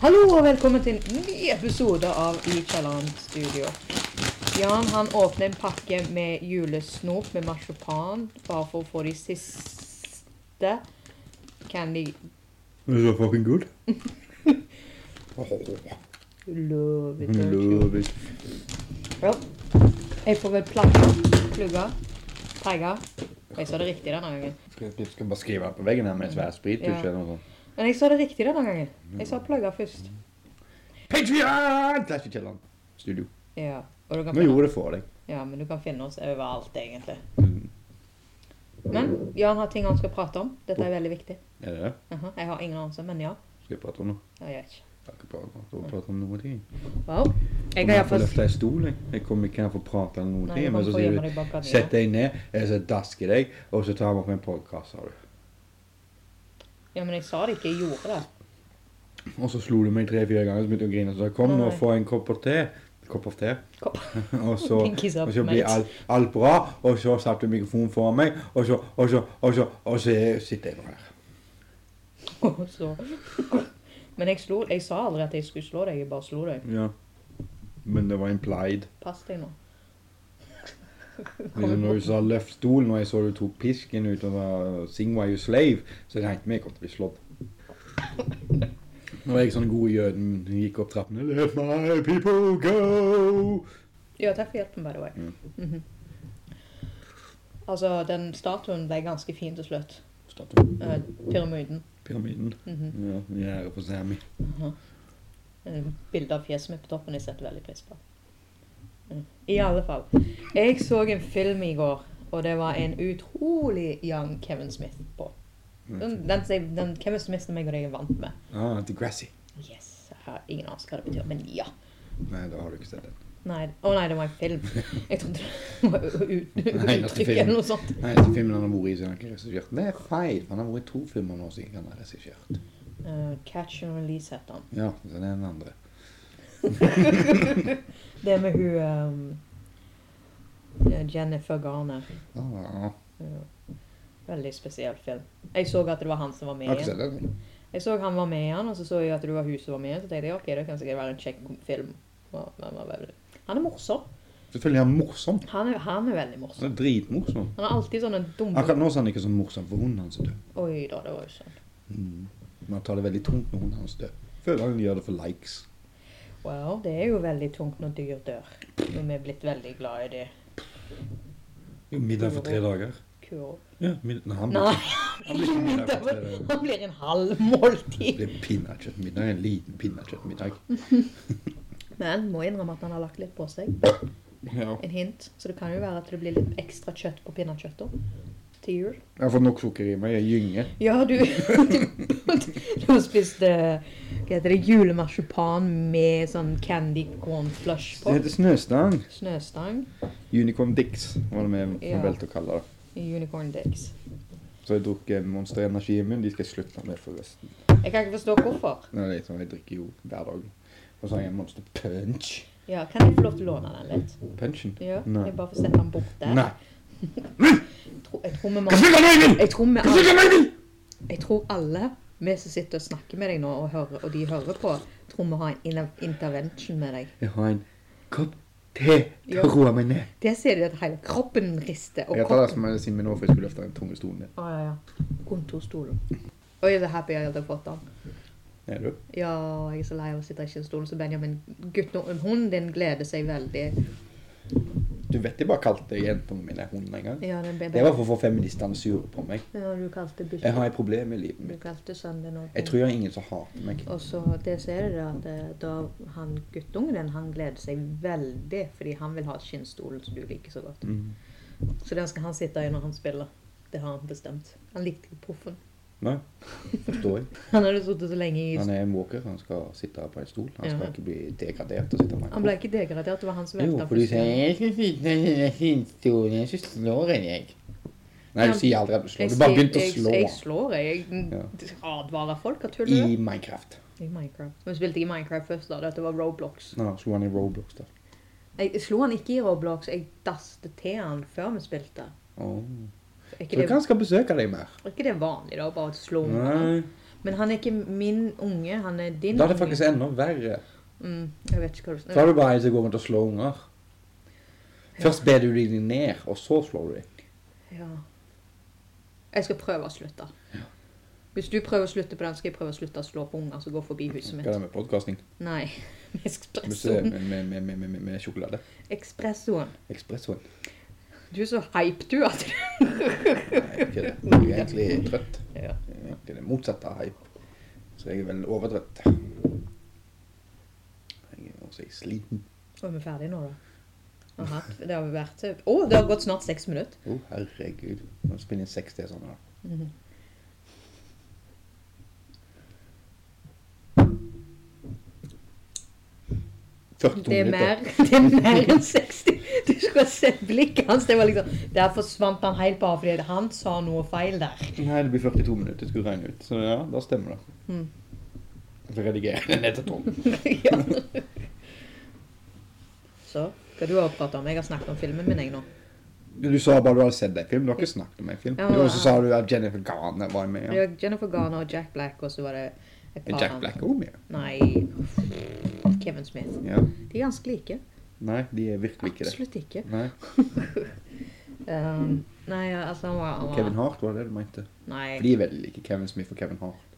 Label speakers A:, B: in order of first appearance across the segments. A: Hallo og velkommen til en ny episode av I kjelleren studio. Jan han åpner en pakke med julesnop med marsipan bare for å få de siste candy
B: Is it fucking good?
A: Love it, don't you?
B: Love it.
A: Ja. Jeg får vel plagge, plugge, tagge. Jeg sa det riktig denne gangen.
B: Skal, jeg- skal jeg bare skrive på veggen her med svær sprittusj
A: Ja.
B: eller noe sånt?
A: Men jeg sa det riktig denne gangen. Jeg sa plugge først.
B: Patrion! Clash i kjelleren. Studio.
A: Ja, og du kan
B: Nå
A: finne,
B: gjorde det for deg.
A: ja, men du kan finne oss overalt, egentlig.
B: Mm.
A: Men Jan har ting han skal prate om. Dette er veldig viktig.
B: Er det det?
A: Aha, Mhm, jeg har ingen anelse, men ja.
B: Skal jeg prate om noe?
A: Jeg vet ikke.
B: Jeg har ikke pratet om- jeg har pratet om noe ting.
A: Wow. Jeg
B: Jeg
A: har
B: har
A: iallfall
B: løftet en stol, jeg. Jeg kommer ikke her for å prate eller noe
A: Nei,
B: ting,
A: du
B: men
A: kan
B: så
A: få
B: sier
A: gjemme
B: du
A: deg bak gardina.
B: Sett deg ned, eller så dasker jeg deg, og så tar vi opp en podcast, sa du.
A: Ja, men jeg sa det ikke. Jeg gjorde det.
B: Og så slo du meg tre-fire ganger, så begynte jeg å grine, så sa jeg, kom nå og
A: Nei.
B: få en kopp av te. Kopp av te.
A: Kopp.
B: Og så,
A: Pinkies up,
B: og så
A: mate.
B: blir alt, alt bra, og så satte du mikrofonen foran meg, og så, og så, og så, og så sitter jeg nå her.
A: Og så Men jeg, slo, jeg sa aldri at jeg skulle slå deg. Jeg bare slo deg.
B: Ja. Men det var implied.
A: Pass deg nå.
B: Liksom når du sa løft stolen, og jeg så du tok pisken ut og sa, sing while you slave, så tenkte jeg jeg kom til å bli slått. Nå var jeg sånn god jøden, gikk opp trappene, let my people go!
A: Ja, takk for hjelpen, by the way.
B: Mm.
A: Mhm. Altså, den statuen ble ganske fin til slutt.
B: Statuen.
A: Eh, pyramiden.
B: Pyramiden.
A: Mhm.
B: Ja, gjerdet på Sammy.
A: Eh, Bildet av fjeset mitt på toppen jeg setter veldig pris på. Mm. I alle fall. Jeg så en film i går, og det var en utrolig young Kevin Smith på.
B: Mm.
A: Den, den, som- den Kevin Smith som jeg og deg er vant med.
B: Ah, Degrassi.
A: Yes, jeg har ingen anelse hva det betyr, men ja.
B: Nei, da har du ikke sett den.
A: Nei, å nei, det var en film. Jeg trodde det var ut,
B: Nei, det er
A: uttrykk
B: film.
A: eller noe sånt.
B: Nei, den filmen han har vært i, så har han ikke regissert. Det er feil, for han har vært i to filmer nå som ikke han har regissert.
A: Eh, catch and release heter han.
B: Ja, så det er den andre.
A: Det med hun ehm, eh, Jennifer Garner. Eh,
B: Ah,
A: Veldig spesiell film. Jeg så at det var han som var med
B: jeg har ikke
A: igjen.
B: sett den.
A: Jeg så han var med igjen, og så så jeg at det var hun som var med igjen. Så tenkte jeg ok, det kan sikkert være en kjekk film. Og Han var veldig- han er morsom.
B: Selvfølgelig er han morsom.
A: Han er, han er veldig morsom.
B: Han er dritmorsom.
A: Han er alltid sånn en dum
B: Akkurat nå så er han ikke så morsom, for hunden hans er død.
A: Oi da, det var jo sånn.
B: Mm. Men han tar det veldig tungt når hunden hans er død. Føler han gjør det for likes.
A: Wow, det er jo veldig tungt når dyr dør. Og vi er blitt veldig glad i de.
B: Jo, Middag for tre dager.
A: Kurv.
B: Ja, middag. Nei, han blir,
A: Nei,
B: han blir ikke middag for tre dager.
A: han blir en halv
B: Det
A: måltid.
B: blir pinnekjøttmiddag, en liten pinnekjøttmiddag.
A: Men må innrømme at han har lagt litt på seg.
B: Ja.
A: En hint. Så det kan jo være at det blir litt ekstra kjøtt på pinnekjøttet til jul.
B: Jeg har fått nok sukker i meg, jeg gynger.
A: Ja, du Du har spist eh, Hva heter det? Julemarsipan med sånn candy corn flush
B: Det
A: på.
B: heter snøstang.
A: Snøstang.
B: Unicorn Dicks, var det vi
A: Ja.
B: ja. valgte å kalle det.
A: Unicorn dicks.
B: Så jeg drukker Monster Energi i munnen, de skal jeg slutte med forresten.
A: Jeg kan ikke forstå hvorfor.
B: Nei, det er sånn, jeg drikker jo hver dag. Og så har jeg en Monster Punch.
A: Ja, Kan jeg få lov til å låne den litt?
B: Punchen?
A: Ja,
B: Nei.
A: Jeg bare får sette den bort der.
B: Nei.
A: Jeg tror, jeg tror vi må
B: Hva skal jeg vil?
A: Jeg tror vi
B: Hva
A: alle
B: skal jeg vil?
A: Jeg tror alle vi som sitter og snakker med deg nå, og, hører, og de hører på, tror vi har en in- intervention med deg.
B: Jeg har en kopp te til
A: Ja.
B: å roe meg ned.
A: Det ser de at hele kroppen rister. Og
B: Jeg tar
A: kroppen
B: det som jeg sier meg nå, for jeg skulle løfte den tunge stolen ned.
A: Å, ja, ja. Kontorstolen. Oi, jeg er så happy jeg hadde fått den.
B: Er du?
A: Ja, jeg er så lei av å sitte i en stol som Benjamin. Gutten, hunden din gleder seg veldig.
B: Du vet jeg bare kalte jentene mine hund en gang.
A: Ja, den ble
B: Det var for å få feministene sure på meg.
A: Ja, du kalte
B: Jeg
A: bikkja.
B: har et problem i livet
A: Du
B: mitt.
A: kalte sønnen din
B: Jeg
A: også.
B: tror jeg har ingen som hater meg.
A: Og så det så er det da at eh, da han guttungen din, han gleder seg veldig, fordi han vil ha skinnstolen som du liker så godt.
B: Mm.
A: Så den skal han sitte i når han spiller. Det har han bestemt. Han likte ikke proffen.
B: Nei, forstår jeg.
A: Han hadde sittet så lenge i
B: Han er en walker, han skal sitte på en stol. Han skal
A: Ja.
B: ikke bli degradert og sitte på en
A: Han ble ikke degradert, det var han som
B: Jo,
A: velta
B: for du
A: først.
B: sier 'Jeg skal sitte i denne finstolen, så slår jeg deg'. Nei, du sier aldri at du slår. Du bare begynte å
A: jeg,
B: slå
A: Jeg slår, jeg. Jeg advarer folk og tuller.
B: i Minecraft.
A: I Minecraft. Vi spilte ikke Minecraft først, da. Dette var Roblox.
B: Nå slo han i Roblox, da.
A: Jeg slo han ikke i Roblox, jeg dasste til han før vi spilte.
B: Åh.
A: Er
B: Så
A: ikke
B: du
A: det,
B: kan skal besøke deg mer.
A: er ikke det vanlig, da? Bare å slå han?
B: Nei.
A: Men han er ikke min unge, han er din
B: Da er det faktisk enda verre.
A: Mm, jeg vet ikke hva du
B: Da er
A: snakker om.
B: det bare en som går rundt og slår unger. Først ber du dem ned, og så slår du dem.
A: Ja. Jeg skal prøve å slutte. Hvis du prøver å slutte på den, skal jeg prøve å slutte å slå på unger som går forbi huset
B: Hva
A: mitt.
B: er det med podcasting?
A: Nei.
B: Med,
A: Espressoen.
B: med, med, med, med, med sjokolade.
A: Espressoen.
B: Ekspressoen.
A: Du er så hype, du. at
B: Nei, jeg er ikke det. Jeg er egentlig trøtt.
A: ja.
B: Jeg er egentlig det motsatte av hype. Så jeg er vel overtrøtt. Jeg er også sliten.
A: Og er vi ferdige nå, da? Aha, det har vi vært eh, Å, det har gått snart seks minutter.
B: Å, herregud. Nå spiller jeg inn seks til sånn da.
A: Mhm. Det
B: 42
A: er
B: minutter.
A: mer, det er mer enn 60. Du skulle ha sett blikket hans. Det var liksom, der forsvant han helt bare fordi han sa noe feil der.
B: Nei, det blir 42 minutter, skulle regne ut. Så ja, da stemmer det.
A: Mm.
B: Så redigerer jeg det ned til 12.
A: ja. Så skal du også prate om. Jeg har snakket om filmen min, jeg nå.
B: Du sa bare du hadde sett en film. Du har ikke snakket om en film.
A: Ja, men-
B: Og så sa du at Jennifer Garner var med.
A: Det
B: Ja.
A: var Jennifer Garner og Jack Black, og så var det et
B: Er
A: par
B: Jack
A: andre.
B: Black også med?
A: Nei Kevin Smith.
B: Ja.
A: De er ganske like.
B: Nei, de er virkelig ikke det.
A: Absolutt ikke.
B: Nei.
A: Um, nei, altså han var, han var
B: Kevin Hart var det du mente.
A: Nei,
B: For de er veldig like Kevin Smith og Kevin Hart.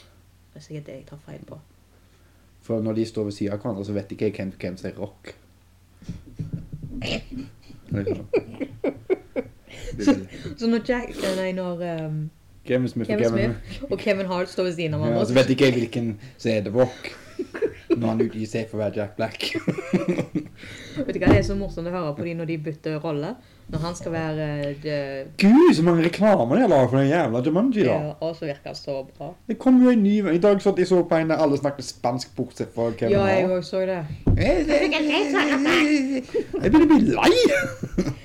A: det er sikkert det jeg tar feil på.
B: For når de står ved siden av hverandre, så vet de ikke hvem, hvem som er rock. Det er sånn. Det er veldig-
A: Så når Jack eh, Nei, når um,
B: Kevin Smith og
A: Kevin
B: Kevin
A: Smith og Kevin Hart står ved siden av
B: ja, Så
A: hverandre
B: vet de ikke hvilken som er The Rock. Når han utgir seg for å være Jack Black.
A: Vet du hva, Det er så morsomt å høre på de når de bytter rolle. Når han skal være eh,
B: Gud, så mange reklamer de har laget for den jævla Jumanji,
A: det-
B: da.
A: ja, Og så virker han så bra.
B: Det kom jo en ny I dag satt jeg så på en der alle snakket spansk, bortsett fra Kevin
A: Ja, jeg
B: Hart. Eh,
A: òg så det.
B: Jeg, jeg, eh. jeg begynner å bli lei!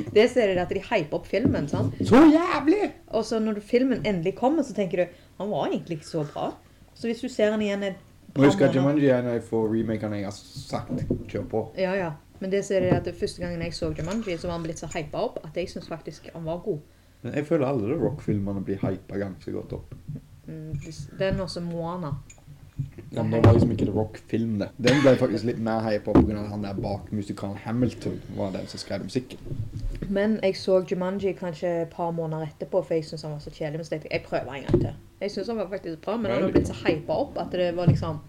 A: Det ser jeg at de hyper opp filmen. sant?
B: Så jævlig!
A: Og så når du- filmen endelig kommer, så tenker du han var egentlig ikke så bra. Så hvis du ser han igjen et
B: Må huske at
A: måneder-
B: Jumanji er når jeg får remakene jeg har sagt. Kjør på.
A: Ja, ja. Men det ser jeg at det første gangen jeg så Jumanji, så var han blitt så hypa opp at jeg syns faktisk han var god.
B: Men jeg føler alle de rock-filmerne blir hypa ganske godt opp.
A: Mm, Den også Moana.
B: Ja, men det var liksom ikke det rock-film, det. Den ble faktisk litt mer hypa på grunn av at han der bak musikalen Hamilton var den som skrev musikken.
A: Men jeg så Jumanji kanskje et par måneder etterpå, for jeg syntes han var så kjedelig. Men så tenkte jeg jeg prøver en gang til. Jeg syns han var faktisk bra, men han har blitt så hypa opp at det var liksom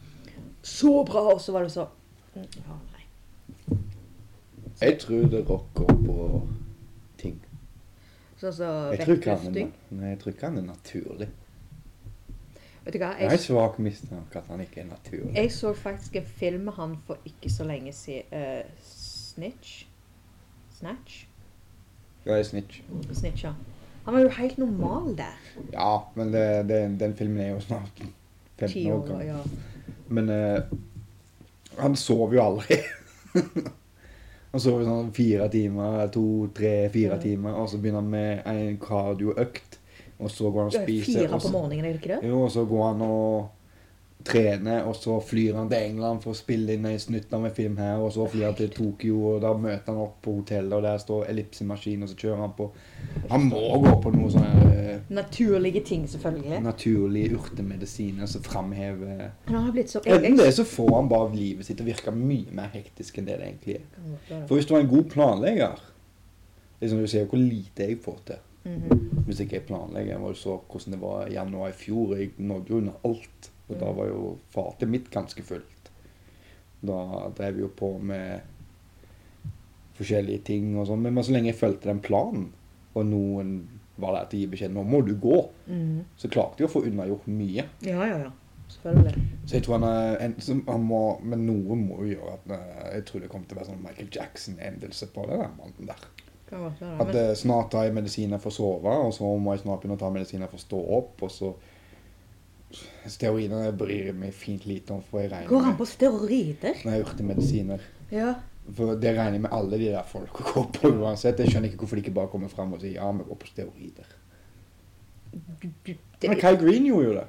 A: så bra, og så var det så mm, ja, nei.
B: Jeg tror det rocker på ting.
A: Sånn som så,
B: Jeg tror ikke han er,
A: vektløfting.
B: nei, jeg tror ikke han er naturlig.
A: Vet du hva,
B: Jeg
A: jeg
B: har svak mistanke at han ikke er naturlig.
A: Jeg så faktisk en film med han for ikke så lenge siden. eh, snitch? Snatch?
B: Ja, jeg er snitch.
A: Snitch, ja. Han var jo helt normal der.
B: Ja, men det, det, den filmen er jo snart 15
A: Ti
B: år
A: år,
B: gammel.
A: ja.
B: Men eh, han sov jo aldri. han sov i sånn fire timer, to, tre, fire
A: Mm.
B: timer, og så begynner han med en kardioøkt, og så går han og
A: Ja,
B: spiser.
A: Fire
B: Og
A: på
B: så,
A: morgenen, er det ikke det?
B: jo, og så går han og trener, og så flyr han til England for å spille inn en snutt av en film her, og så flyr han til Tokyo, og da møter han opp på hotellet, og der står ellipsemaskin, og så kjører han på. Han må gå på noe sånn her... eh,
A: Naturlige ting, selvfølgelig.
B: naturlige urtemedisiner som framhever
A: Men han har blitt så
B: Enten
A: jeg-
B: det, så får han bare livet sitt til å virke mye mer hektisk enn det det egentlig er.
A: Kan godt være.
B: For hvis du var en god planlegger liksom Du ser jo hvor lite jeg får til
A: Mhm.
B: hvis jeg ikke er planlegger. Og du så hvordan det var i januar i fjor. Jeg nådde jo under alt. Og da var jo fatet mitt ganske fullt. Da drev jeg jo på med forskjellige ting og sånn. Men så lenge jeg fulgte den planen, og noen var der til å gi beskjed 'Nå må du gå',
A: Mhm.
B: så klarte jeg å få unnagjort mye.
A: Ja, ja, ja. Selvfølgelig.
B: Så jeg tror han er en, som han må, Men noe må jo gjøre at eh, Jeg tror det kommer til å være sånn Michael Jackson-endelse på den der mannen der.
A: Kan godt være.
B: At
A: Men,
B: eh, snart tar jeg medisiner for å sove, og så må jeg snart begynne å ta medisiner for å stå opp, og så Steroidene bryr jeg meg fint lite om, for jeg
A: går
B: regner
A: han
B: med
A: på steroider?
B: Når jeg gjør medisiner.
A: Ja.
B: For det regner jeg med alle de der folk går på uansett. Jeg skjønner ikke hvorfor de ikke bare kommer fram og sier ja, vi går på steroider.
A: Du- du-
B: Men
A: Det,
B: Kyle Green gjorde jo det.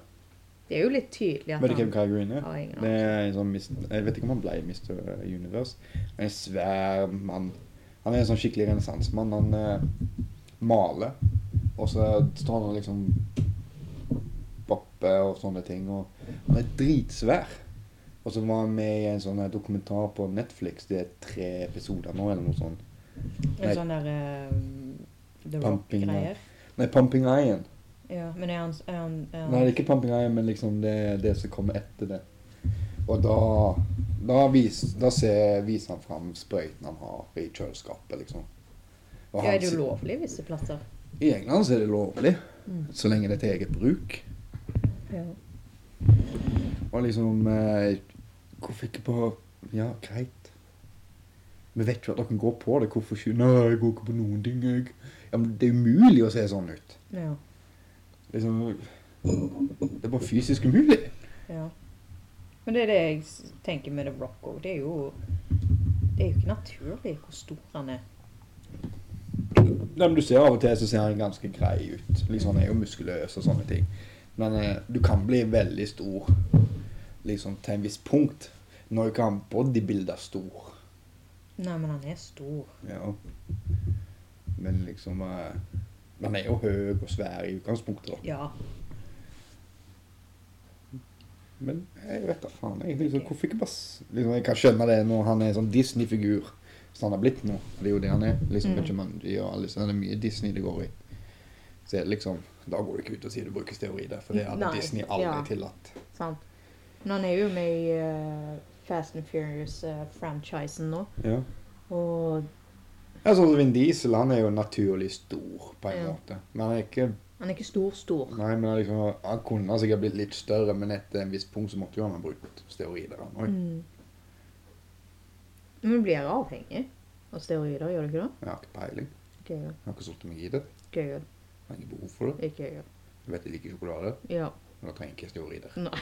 A: det er jo litt tydelig at
B: Vet du hvem
A: han
B: Kyle Green er?
A: Ja, ingen
B: Det
A: aning.
B: er en sånn mis- Jeg vet ikke om han ble Mr. Universe. En svær mann. Han er en sånn skikkelig renessansemann. Han eh, maler, og så står han og liksom bak oppe og sånne ting. Og han er dritsvær. Og så var han med i en sånn her dokumentar på Netflix. Det er tre episoder nå, eller noe sånt. Nei.
A: En sånn der eh, The
B: Pumping
A: Rock-greier.
B: Nei, Pumping Iron.
A: Ja, men er han, er han, er han
B: Nei, det er ikke Pumping Iron, men liksom det, det som kommer etter det. Og da, da, vis, da ser, viser han fram sprøyten han har i kjøleskapet, liksom. Og
A: ja,
B: han
A: Er det
B: sit-
A: jo lovlig visse plasser?
B: I England så er det lovlig,
A: Mm.
B: så lenge det er til eget bruk.
A: Ja.
B: Og liksom eh, Hvorfor ikke på Ja, greit. Vi vet jo at dere går på det. Hvorfor ikke? Nei, jeg går ikke på noen ting, jeg. Ja, men det er umulig å se sånn ut.
A: ja.
B: Liksom Det er bare fysisk umulig.
A: Ja. Men det er det jeg s- tenker med The Rock òg. Det er jo Det er jo ikke naturlig hvor stor han er.
B: Nei, men du ser Av og til så ser han ganske grei ut. Liksom, Han er jo muskuløs og sånne ting. Men eh, du kan bli veldig stor liksom til en viss punkt. Nå er jo ikke han bodybuilder stor.
A: Nei, men han er stor.
B: Ja. Men liksom eh, Man er jo høy og svær i utgangspunktet, da.
A: Ja.
B: Men jeg vet da faen. Jeg, liksom, hvorfor ikke bare s- liksom, Jeg kan skjønne det når han er en sånn Disney-figur. Som han har blitt nå. Det er jo det han er. Liksom
A: Mm.
B: Jumanji og alle sånne. Det er mye Disney det går i. Så er det liksom Da går du ikke ut og sier du bruker steroider, for det hadde
A: Nei,
B: Disney aldri
A: ja.
B: tillatt.
A: Sant. Men han er jo med i eh, Fast and Furious-franchisen nå.
B: Ja.
A: Og
B: Altså, Vin Diesel han er jo naturlig stor, på en
A: Ja.
B: måte. Men han er ikke
A: han er ikke stor-stor.
B: Nei, men han liksom, han kunne sikkert blitt litt større, men etter en viss punkt så måtte jo han ha brukt steroider. Han, også.
A: Mm. Men du blir avhengig av steroider, gjør du ikke det?
B: Jeg har ikke peiling.
A: Ikke jeg.
B: Jeg har ikke satt meg i det.
A: Ikke jeg.
B: Jeg har ikke behov for det.
A: Ikke jeg.
B: Jeg vet jeg liker sjokolade,
A: Ja.
B: men da trenger jeg ikke steroider.
A: Nei.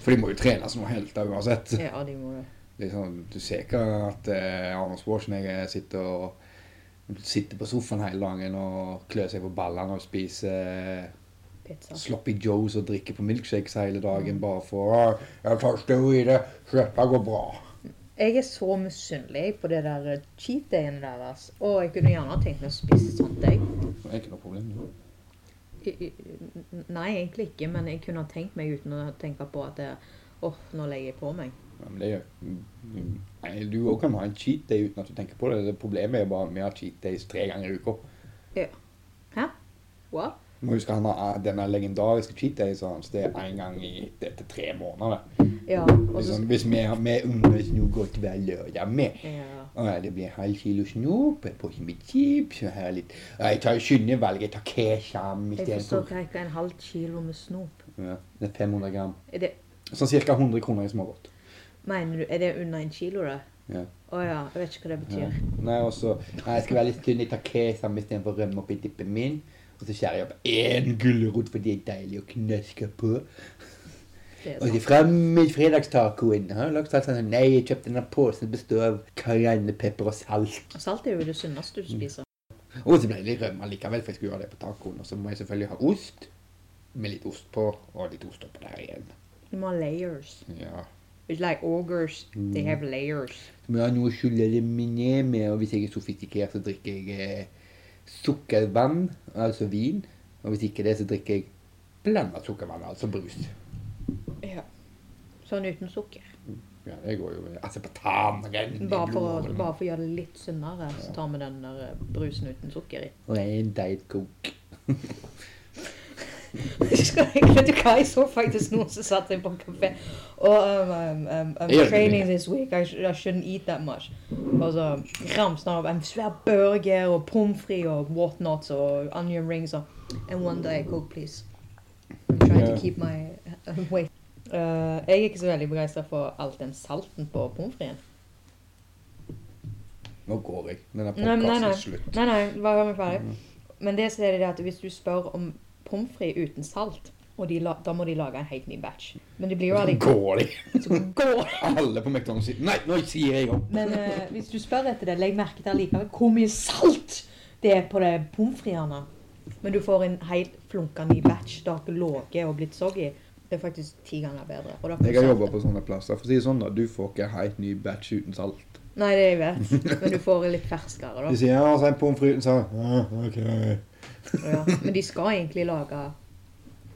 B: For de må jo trene som noen helter uansett.
A: ja, de må det.
B: Det er sånn, du ser ikke at eh, Arnold Schwarzenegger sitter og sitter på sofaen hele dagen og klør seg på ballene og spiser eh,
A: Pizza.
B: Sloppy Joes og drikker på milkshakes hele dagen bare for «Å, 'Jeg tar steroider, så dette går bra'.
A: Jeg er så misunnelig på det der eh, cheat dayen deres. Og jeg kunne gjerne tenkt meg å spise sånt, jeg.
B: Det er ikke noe problem. det.
A: I- i- Nei, egentlig ikke, men jeg kunne ha tenkt meg uten å tenke på at det- Åh, nå legger jeg på meg.
B: Ja, men det gjør mm, Nei, Du òg kan ha en cheat day uten at du tenker på det. det problemet er bare at vi har cheat days tre ganger i uka.
A: Hæ? Hva?
B: Du må huske han har ah, denne legendariske cheat days hans. Det er én gang i etter tre måneder.
A: Ja, og så
B: Liksom, hvis vi, vi unger nå går til hver lørdag med
A: ja.
B: Å, ja, Det blir halv kilo snop, en pose med chips og her litt «Å, Jeg tar skynde valg, jeg tar kesam
A: Jeg forstår ikke hva en halv kilo med snop
B: Ja, det er 500 gram.
A: er det,
B: Sånn ca. 100 kroner i smågodt.
A: Mener du, er det under en kilo, det?
B: Ja.
A: Å ja, jeg vet ikke hva det
B: Ja.
A: betyr.
B: Nei, og så Nei, jeg skal være litt sunn. Jeg tar kesam istedenfor rømme oppi dippen min. Og så skjærer jeg opp én gulrot, for de er deilige å knaske på.
A: Det er
B: Og så
A: sant.
B: fram i fredagstacoen. Har du lagt salt? Sånn, Nei, jeg kjøpte denne posen som består av cayennepepper og salt.
A: Salt er jo det sunneste du spiser.
B: Mm. Og så ble det litt rømme likevel, for jeg skulle gjøre det på tacoen. Og så må jeg selvfølgelig ha ost. Med litt ost på, og litt ost oppå der igjen.
A: Du må ha layers.
B: Ja.
A: It's like ogres. They
B: Mm.
A: have layers.
B: Så må jeg ha noe å skylle det mine med, og hvis jeg er sofistikert, så drikker jeg eh, sukkervann, altså vin. Og hvis ikke det, så drikker jeg blanda sukkervann, altså brus.
A: Ja. Sånn uten sukker.
B: Ja, det går jo altså Asepetam renner i
A: Bare for, å,
B: blodårene.
A: bare for å gjøre det litt sunnere, så tar vi den der eh, brusen uten sukker i.
B: Og en diet coke.
A: Vet du hva, jeg så faktisk noen som satt seg på en kafé og um, um, um, I'm
B: Jeg gjør det
A: training
B: ikke.
A: this week, I, sh I shouldn't eat that much. Og så ramsen av en svær burger og pommes frites og whatnot og onion rings og And one day coke, please. I'm trying
B: Ja.
A: to keep my uh, weight. Eh, jeg er ikke så veldig begeistra for alt den salten på pommes fritesen.
B: Nå går jeg. Denne
A: Nei, nei,
B: podkasten
A: nei.
B: er slutt.
A: Nei, nei, bare hør meg
B: Mhm.
A: ferdig. Men det som er det at hvis du spør om pommes frites uten salt, og de la, da må de lage en helt ny batch. Men det blir jo aldri
B: Nå går de.
A: så går.
B: Alle på McDonald's sier Nei, nå sier jeg opp!
A: Men eh, hvis du spør etter det, legg merke til likevel hvor mye salt det er på de pommes fritesene. Men du får en helt flunka ny batch. Det har ikke ligget og blitt soggy. Det er faktisk ti ganger bedre. Og da får
B: Jeg har
A: du
B: jobba
A: saltet.
B: på sånne plasser. For å si det sånn, da. Du får ikke helt ny batch uten salt.
A: Nei, det jeg vet. Men du får litt ferskere,
B: De
A: da.
B: sier ja, så er det pommes frites, så ja, OK.
A: Ja. Men de skal egentlig lage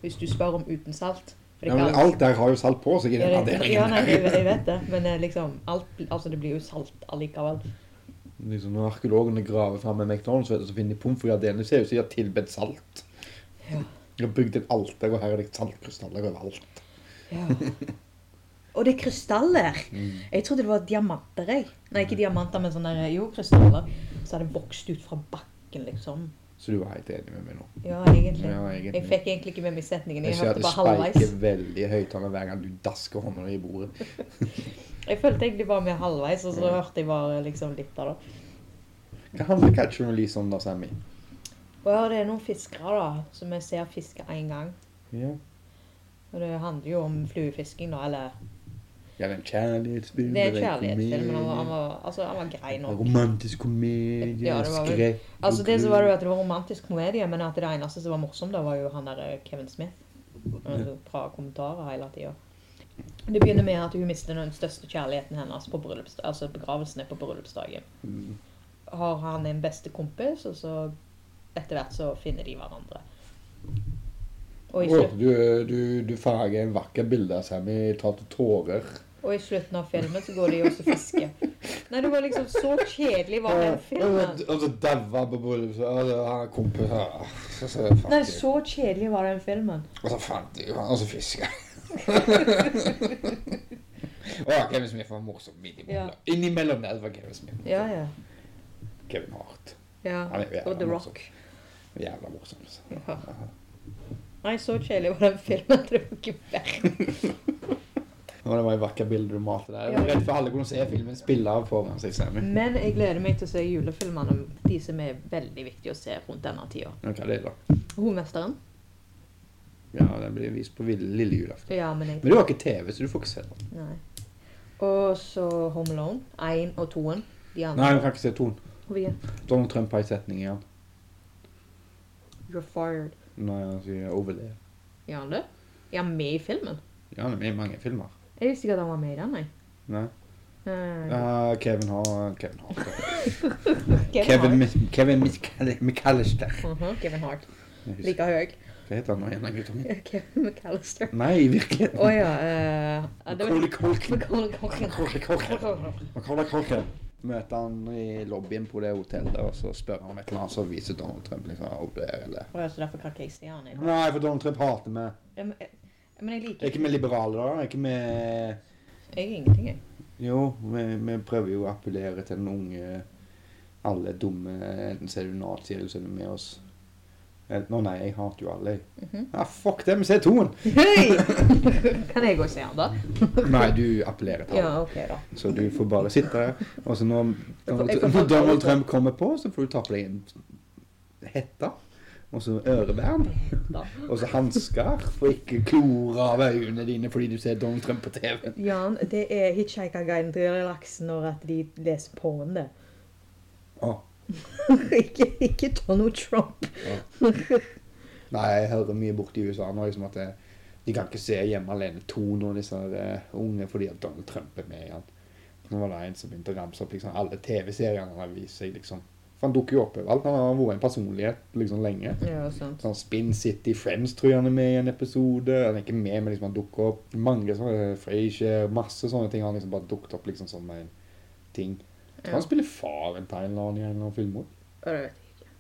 A: hvis du spør om uten salt. For det
B: Ja,
A: er
B: men
A: ikke alt-
B: alt der har jo salt på seg i den
A: Ja, det- Ja,
B: raderingen.
A: nei, jeg, jeg vet det, men eh, liksom alt, altså, det blir jo salt allikevel.
B: Liksom, når arkeologene graver fram en McDonald's, vet du, så finner de pommes frites alene. Ser ut som de har tilbedt salt.
A: Ja.
B: De har bygd et alter, og her er det saltkrystaller overalt.
A: Ja. Og det er krystaller!
B: Mm.
A: Jeg trodde det var diamanter. jeg. Nei, ikke diamanter, men sånne der- jo, krystaller. Så hadde vokst ut fra bakken, liksom.
B: Så du var helt enig med meg nå.
A: Ja, egentlig.
B: Ja, egentlig.
A: Jeg fikk egentlig ikke med meg setningen.
B: Jeg
A: Jeg
B: ser at
A: hørte
B: det
A: bare halvveis.
B: speiker veldig i høyttaler hver gang du dasker hånda i bordet.
A: Jeg følte egentlig bare med halvveis, og så
B: Ja.
A: hørte jeg bare liksom litt av det.
B: Hva handler catch and release om da, Sammy?
A: Og ja, det er noen fiskere da, som jeg ser fiske én gang.
B: Ja,
A: Og det handler jo om fluefisking, da, eller
B: ja det er en kjærlighetsfilm.
A: Det er en
B: det
A: kjærlighetsfilm, men han var, han
B: komedie,
A: var, altså, han var grei nok.
B: Romantisk komedie,
A: Ja, det var vel-
B: skrekk
A: Altså, det så var det jo at det var romantisk komedie, men at det eneste som var morsomt, da var jo han der eh, Kevin Smith. Altså, Bra kommentarer hele tida. Det begynner med at hun mister den største kjærligheten hennes på bryllups, altså begravelsen er på bryllupsdagen.
B: Mm.
A: Har han en beste kompis, og så etter hvert så finner de hverandre. Og i,
B: Åh,
A: slutt,
B: du, du, du farger en vakker bilde av Sammy, tar til tårer.
A: og i slutten av filmen så går de også og fisker. Nei, det var liksom så kjedelig var den filmen.
B: Og så daua på bryllupet. Og så har han kompis her. Så- så fant
A: Nei,
B: jeg-
A: så kjedelig var den filmen.
B: Og så fant jeg jo han, og så fiska jeg. Å, Kevin Smith var morsom innimellom. Innimellom der var Kevin Smith. morsom.
A: Ja, ja.
B: Kevin Hart.
A: ja.
B: Han er jo
A: Og
B: jævla
A: The
B: morsom.
A: Rock.
B: Jævla morsom. altså.
A: Ja. Nei, så kjedelig var den filmen. at Det var ikke verdt
B: Og det var et vakkert bilde du malte der. Jeg var redd for alle kunne se filmen spille av foran seg. Sammy.
A: Men jeg gleder meg til å se julefilmene, de som er veldig viktige å se rundt denne tida.
B: Ja, Hva er det, da?
A: Hovmesteren?
B: Ja, Den blir vist på vill- lille julaften.
A: Ja, men jeg
B: Men du har ikke TV, så du får ikke se den.
A: Nei. Og så Home Alone. Én og toen. De
B: Nei, du
A: andre.
B: kan ikke se Ton.
A: Hvor er
B: Donald Trump har en setning igjen.
A: You're fired.
B: Når han sier 'overlev'.
A: Er han det? Er han med i filmen?
B: Ja, han er med i mange filmer.
A: Jeg visste ikke at han var med i den, jeg.
B: Nei.
A: Eh,
B: Ja, Kevin har Kevin har Kevin,
A: Kevin Hart.
B: Mis- Kevin Mis- McAllister.
A: Mhm, Kevin Hart.
B: Jeg husker-
A: Like høy.
B: Hva heter han nå igjen, den guttungen?
A: Kevin McAllister.
B: Nei, virkelig.
A: Å ja. eh, ja, det var-
B: Macaulay Culkin.
A: Macaulay Culkin.
B: Macaulay Culkin. Macaulay Culkin. Møter han i lobbyen på det hotellet, og så spør han om et eller annet, så viser Donald Trump liksom opp der, eller
A: Å ja, så derfor kan ikke jeg se han. jeg.
B: Nei, for Donald Trump hater meg.
A: Ja, Men jeg- men jeg liker
B: Er ikke vi liberale, da? Er ikke vi
A: Jeg er ingenting, jeg.
B: Jo, vi, vi prøver jo å appellere til den unge Alle er dumme, enten så er du nazi eller så er du med oss. Eh, Nå nei, jeg hater jo alle, jeg.
A: Mhm.
B: Ja, fuck det, vi ser toen!
A: Hei! Kan jeg gå og se han, da?
B: Nei, du appellerer til alle.
A: Ja, OK, da.
B: Så du får bare sitte der. Og så når,
A: får- jeg får
B: når
A: faktisk
B: Donald
A: aldri-
B: Trump kommer på, så får du ta på deg en hette. Og så ørevern.
A: da.
B: Og så hansker. For ikke klore av øynene dine fordi du ser Donald Trump på TV.
A: Jan, det er Hitchhiker-guiden til relaksen når at de leser porn, det.
B: Å,
A: ikke, ikke Donald Trump.
B: Nei, jeg hører mye borti USA nå liksom at det, de kan ikke se Hjemme alene 2 nå, disse eh, unge, fordi at Donald Trump er med igjen. Nå var det en som begynte å ramse opp liksom, alle TV-seriene han har vist seg, liksom. For han dukker jo opp overalt. Han har vært en personlighet liksom lenge.
A: Ja, sant.
B: Sånn Spin City Friends tror jeg han er med i en episode. Han er ikke med, men liksom han dukker opp. Mange sånne eh, Frasier, masse sånne ting. Han liksom bare dukket opp liksom som en ting. Jeg tror
A: Ja.
B: Han spiller faren til en eller annen i en eller annen film også.
A: Ja, det vet jeg ikke.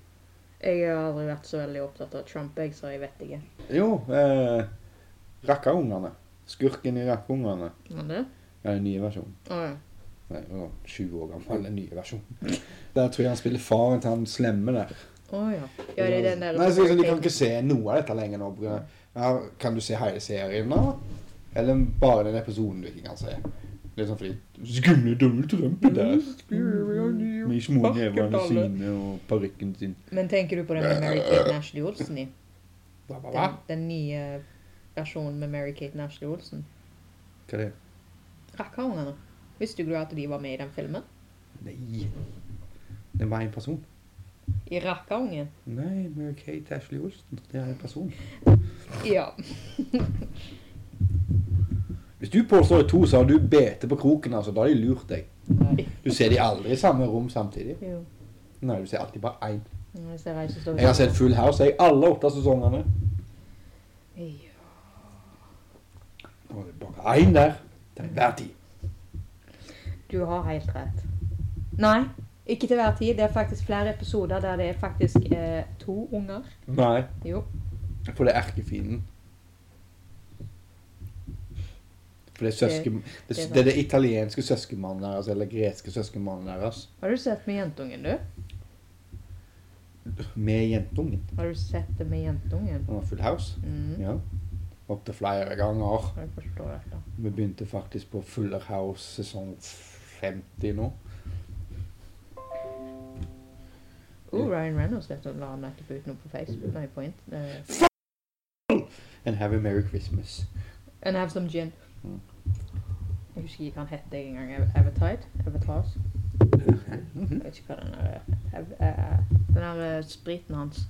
A: Jeg har aldri vært så veldig opptatt av Trump, jeg, så jeg vet ikke.
B: Jo, eh, Rakkaungene. Skurken i Rakkaungene.
A: Men det?
B: Ja, den nye versjonen.
A: Å ja.
B: Nei, den var 20 år gammel, den nye versjonen. Der tror jeg han spiller faren til han slemme der.
A: Å ja. Ja, det er den der
B: Nei, så, så de kan ikke se noe av dette lenger nå. på grunn av- Ja, kan du se hele serien nå? Eller bare den episoden du ikke kan se? Det er sånn fordi Skumle Donald Trump er der. Med små nevene sine og parykken sin.
A: Men tenker du på den med Mary-Kate Nashley Olsen i?
B: Hva, hva, hva?
A: Den, den nye versjonen med Mary-Kate Nashley Olsen?
B: Hva er det?
A: Rakkerungene. Visste du at de var med i den filmen?
B: Nei. Det var en person.
A: I Rakkerungen?
B: Nei, Mary Kate Ashley Olsen. Det er en person.
A: Ja.
B: Hvis du påstår to, så har du bete på kroken, altså. Da har de lurt deg. Du ser de aldri i samme rom samtidig.
A: Jo.
B: Nei, du ser alltid bare én.
A: Nå ser jeg, så står det
B: Jeg har sett Full House jeg, alle åtte sesongene.
A: Ja.
B: Nå er det bare én der til enhver tid.
A: Du har helt rett. Nei, ikke til hver tid. Det er faktisk flere episoder der det er faktisk eh, to unger.
B: Nei,
A: Jo.
B: for det er erkefienden. For det er søsken... Det,
A: det er
B: det er det italienske søskenmannen deres, eller greske søskenmannen deres,
A: Har du sett med jentungen, du?
B: med jentungen.
A: Har du sett det med jentungen?
B: Han har full house.
A: Mm.
B: Ja. Opptil flere ganger.
A: Jeg forstår dette.
B: Vi begynte faktisk på Fuller House sesong 50 nå.
A: Oh, Ryan Reynolds vet du, la han nettopp ut noe på Facebook. Nei, på int... eh,
B: And have a merry Christmas.
A: And have some gin.
B: Mm.
A: Jeg husker ikke hva han het engang. Avatide? Avatars?
B: Mm-hmm.
A: Jeg vet ikke hva den er. Av- eh, Den der eh, spriten hans.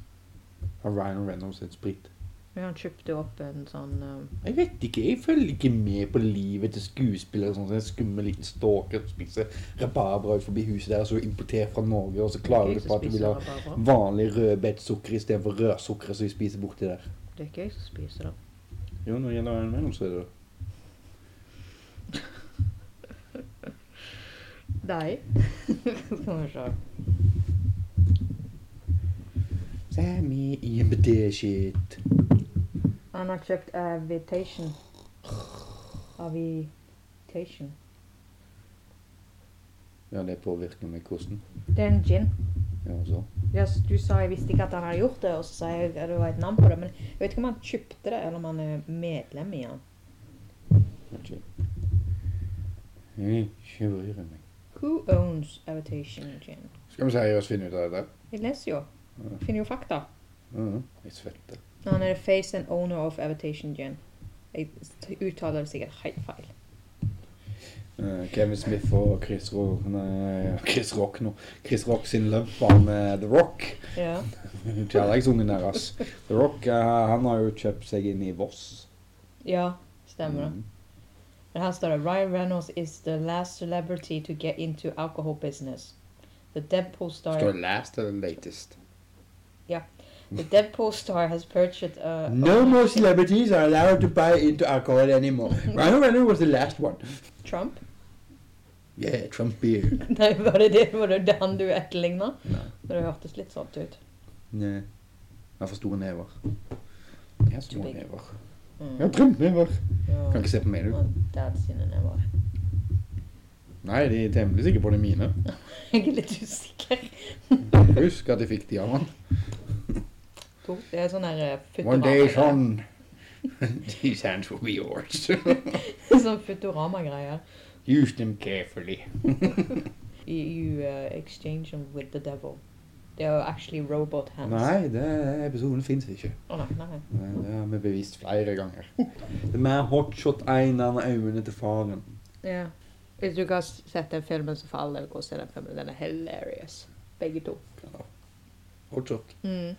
B: Har Ryan Reynolds et sprit?
A: Men han kjøpte jo opp en sånn eh,
B: Jeg vet ikke. Jeg følger ikke med på livet til skuespillere. Sånn som en skummel liten stalker som spiser rabarbra forbi huset deres og importerer fra Norge, og så klager
A: jeg
B: du på
A: som
B: at du
A: spiser
B: vil ha
A: rabarbra.
B: vanlig rødbetsukker istedenfor rødsukker som vi spiser borti der.
A: Det er ikke jeg som spiser det.
B: Jo, når det gjelder Ryan Reynolds, er det det.
A: Nei. Skal vi se.
B: Sammy IMBD-shit.
A: Han har kjøpt Avitation. Avitation.
B: Ja, det påvirker meg hvordan.
A: Det er en gin.
B: Ja, så.
A: Ja, s- du sa jeg visste ikke at han hadde gjort det, og så sa jeg at det var et navn på det. Men jeg vet ikke om han kjøpte det, eller om han er medlem i han.
B: Vet ikke. Jeg kjører meg.
A: Who owns Avitation gin?
B: Skal vi seriøst finne ut av dette?
A: Jeg leser jo. Finner jo fakta.
B: Mhm. Jeg svetter.
A: Han er face and owner of Avitation gin. Jeg s- uttaler det sikkert helt feil.
B: Eh, Kevin Smith og Chris Rock Nei, Chris Rock nå. Chris Rock sin løper med The Rock.
A: Ja.
B: Kjærlighetsungen deres. The Rock eh, han har jo kjøpt seg inn i Voss. Mm.
A: ja, stemmer det. Men her står det Ryan Reynolds is the last celebrity to get into alcohol business. The Deadpool star
B: Skal det last eller latest?
A: The Deadpool star has purchased uh, a
B: No more celebrities are allowed to buy into alcohol anymore. Ryan Reynolds was the last one.
A: Trump.
B: Yeah, Trump beer.
A: Nei, var det det, var det det han du etterligna?
B: Nei.
A: Det hørtes litt sånn ut.
B: Nei. Han har for store never. Jeg har
A: Too
B: store
A: big.
B: never. Jeg har
A: Mm.
B: Trump-never.
A: Ja.
B: Kan ikke se på meg, du.
A: Og Dad sine never.
B: Nei, de er temmelig sikre på det er mine.
A: Jeg er litt usikker.
B: Husk at jeg fikk de av han.
A: To. Det er sånn her eh, Futurama.
B: One day, son. These hands will be yours.
A: sånn Futurama-greier.
B: Use them carefully.
A: You, you eh, exchange them with the devil. They are actually robot hands. Oh,
B: Nei, det, episoden fins ikke.
A: Å, nei, nei.
B: Nei, Det har vi bevist flere ganger. Det er mer hotshot én enn øynene til faren.
A: Ja. Hvis du ikke har sett den filmen, så for all del, gå og se den filmen. Den er hilarious. Begge to.
B: Hotshot.
A: Mm.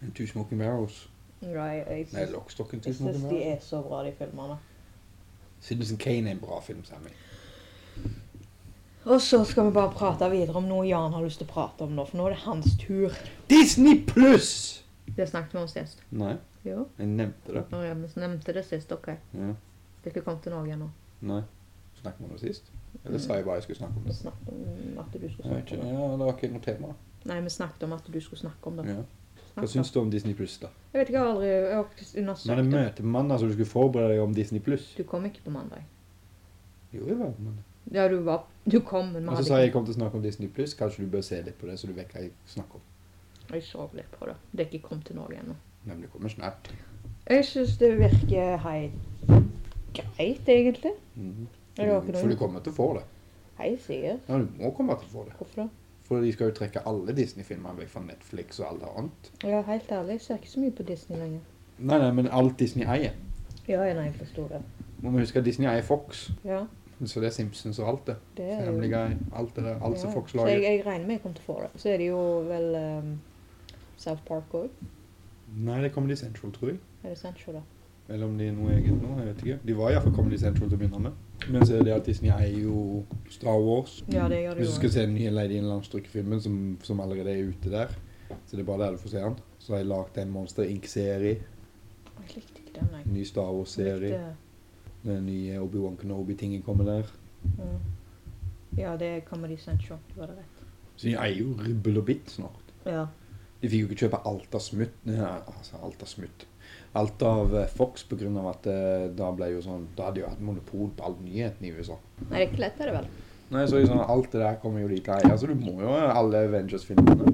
B: And Two Smoking Barrels.
A: Right, jeg
B: Nei,
A: syns
B: Lockstocken Two
A: jeg
B: Smoking
A: syns de
B: Barrels.
A: er så bra, de filmene.
B: Citizen Kane er en bra film, Sammy.
A: Og så skal vi bare prate videre om noe Jan har lyst til å prate om nå, for nå er det hans tur.
B: Disney pluss!
A: Det snakket vi om sist.
B: Nei,
A: Jo.
B: jeg nevnte det.
A: Når jeg nevnte det sist, OK.
B: Ja.
A: Det er ikke kommet til Norge ennå.
B: Nei. Snakket vi om det sist? Eller sa jeg bare jeg skulle snakke om
A: Vi
B: det?
A: snakket om at du
B: Jeg
A: skulle
B: vet ikke,
A: snakke om det.
B: ja, Det var ikke noe tema.
A: Nei, vi snakket om at du skulle snakke om det.
B: Ja.
A: Snakk
B: Hva syns du om Disney pluss, da?
A: da. Jeg vet ikke, jeg har aldri jeg har ikke
B: Men det
A: undersøkt det.
B: møter mandag, så du skulle forberede deg om Disney pluss.
A: Du kom ikke på mandag.
B: Jo, jeg var på mandag.
A: Ja, du var Du kom, men vi
B: Og så
A: hadde
B: sa jeg jeg kom til å snakke om Disney pluss. Kanskje du bør se litt på det, så du vet hva jeg snakker om.
A: ikke Jeg sov litt på det. Det er ikke kommet til Norge ennå.
B: Nei, men det kommer snart.
A: Jeg syns det virker helt greit, egentlig.
B: Mhm.
A: Ja, det var ikke noe.
B: For du kommer til å få det.
A: Hei, Sigurd.
B: Ja, du må komme til å få det.
A: Hvorfor det?
B: For de skal jo trekke alle Disney-filmer vekk fra Netflix og alt annet.
A: Ja, helt ærlig, jeg ser ikke så mye på Disney lenger.
B: Nei, nei, men alt Disney eier.
A: Ja, nei, jeg forstår det.
B: Må vi huske at Disney eier Fox.
A: Ja.
B: Så det er Simpsons og alt det.
A: Det er
B: Family
A: jo
B: Guy, alt det der. Alt som
A: Ja,
B: Fox
A: Så jeg,
B: lager.
A: jeg regner med jeg kommer til å få det. Så er det jo vel ehm, South Park òg.
B: Nei, det kommer de Central, tror jeg.
A: Er det Central, da?
B: Eller om det er noe eget nå, jeg vet ikke. De var iallfall Comedy Central til å begynne med. Men så er det at Disney eier jo Star Wars.
A: Ja, det gjør
B: Hvis du
A: det
B: skal
A: jo.
B: se den nye Lady in Landstrykke-filmen som, som allerede er ute der, så det er bare der du får se den. Så har jeg lagd en Monster Inc.-serie.
A: Jeg likte ikke ikke den, nei.
B: Ny Star Wars-serie.
A: Litt,
B: Den nye Obi-Wan Kenobi-tingen kommer der.
A: eh, mm. Ja, det er Comedy Central. Du hadde rett.
B: Så de eier jo rubbel og bitt snart.
A: Ja.
B: De fikk jo ikke kjøpe alt av smutt. Nei, altså alt av smutt. Alt av eh, Fox på grunn av at eh, da ble jo sånn Da hadde de jo hatt monopol på all nyheten i USA.
A: Nei, det er ikke lett, er det vel?
B: Nei, så liksom, alt det der kommer jo de til å eie. Altså, du må jo ha alle Avengers-filmene.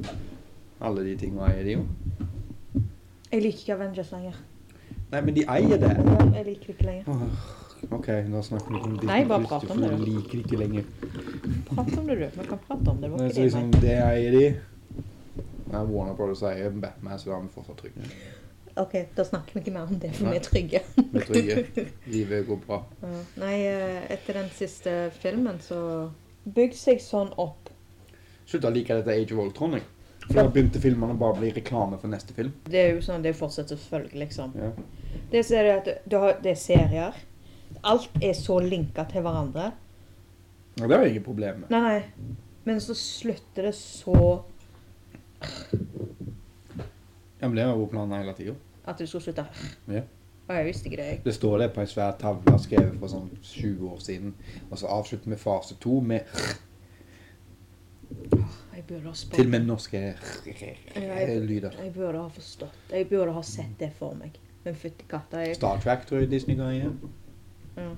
B: Alle de tingene eier de jo.
A: Jeg liker ikke Avengers lenger.
B: Nei, men de eier det.
A: Ja, Jeg liker det ikke lenger.
B: Åh, OK, da snakker vi om Disney
A: Nei, bare
B: Plus,
A: prat om
B: for
A: det,
B: Du
A: da.
B: liker det ikke lenger.
A: Prat om det, du. Vi kan prate om det. Det var
B: Nei, så
A: ikke det
B: liksom,
A: jeg
B: det eier de. Nei, Warner Brothers eier Batman, så da er vi fortsatt trygge.
A: mente. OK, da snakker vi ikke mer om det, for
B: Nei.
A: vi er trygge.
B: Vi er trygge. Livet går bra.
A: Ja. Nei, eh, etter den siste filmen så Bygg seg sånn opp.
B: Slutt å like dette Age of Ultron, jeg. For da begynte filmene å bare bli reklame for neste film.
A: Det er jo sånn det fortsetter selvfølgelig, liksom.
B: Ja.
A: Det, som er det, at du har, det er serier. Alt er så linka til hverandre.
B: Og det var ikke problemet.
A: Nei, nei. Men så slutter det så
B: Ja, men det var jo planen hele tida.
A: at du skulle slutte.
B: Ja.
A: Og jeg visste ikke det. jeg.
B: Det står det på ei svær tavle skrevet for sånn 20 år siden. Og så avslutter vi fase to med
A: Jeg burde ha spurt.
B: til og med norske lyder.
A: Jeg burde ha forstått. Jeg burde ha sett det for meg. Men fytti katta. Jeg...
B: Star Track tror jeg Disney ga igjen.
A: Ja.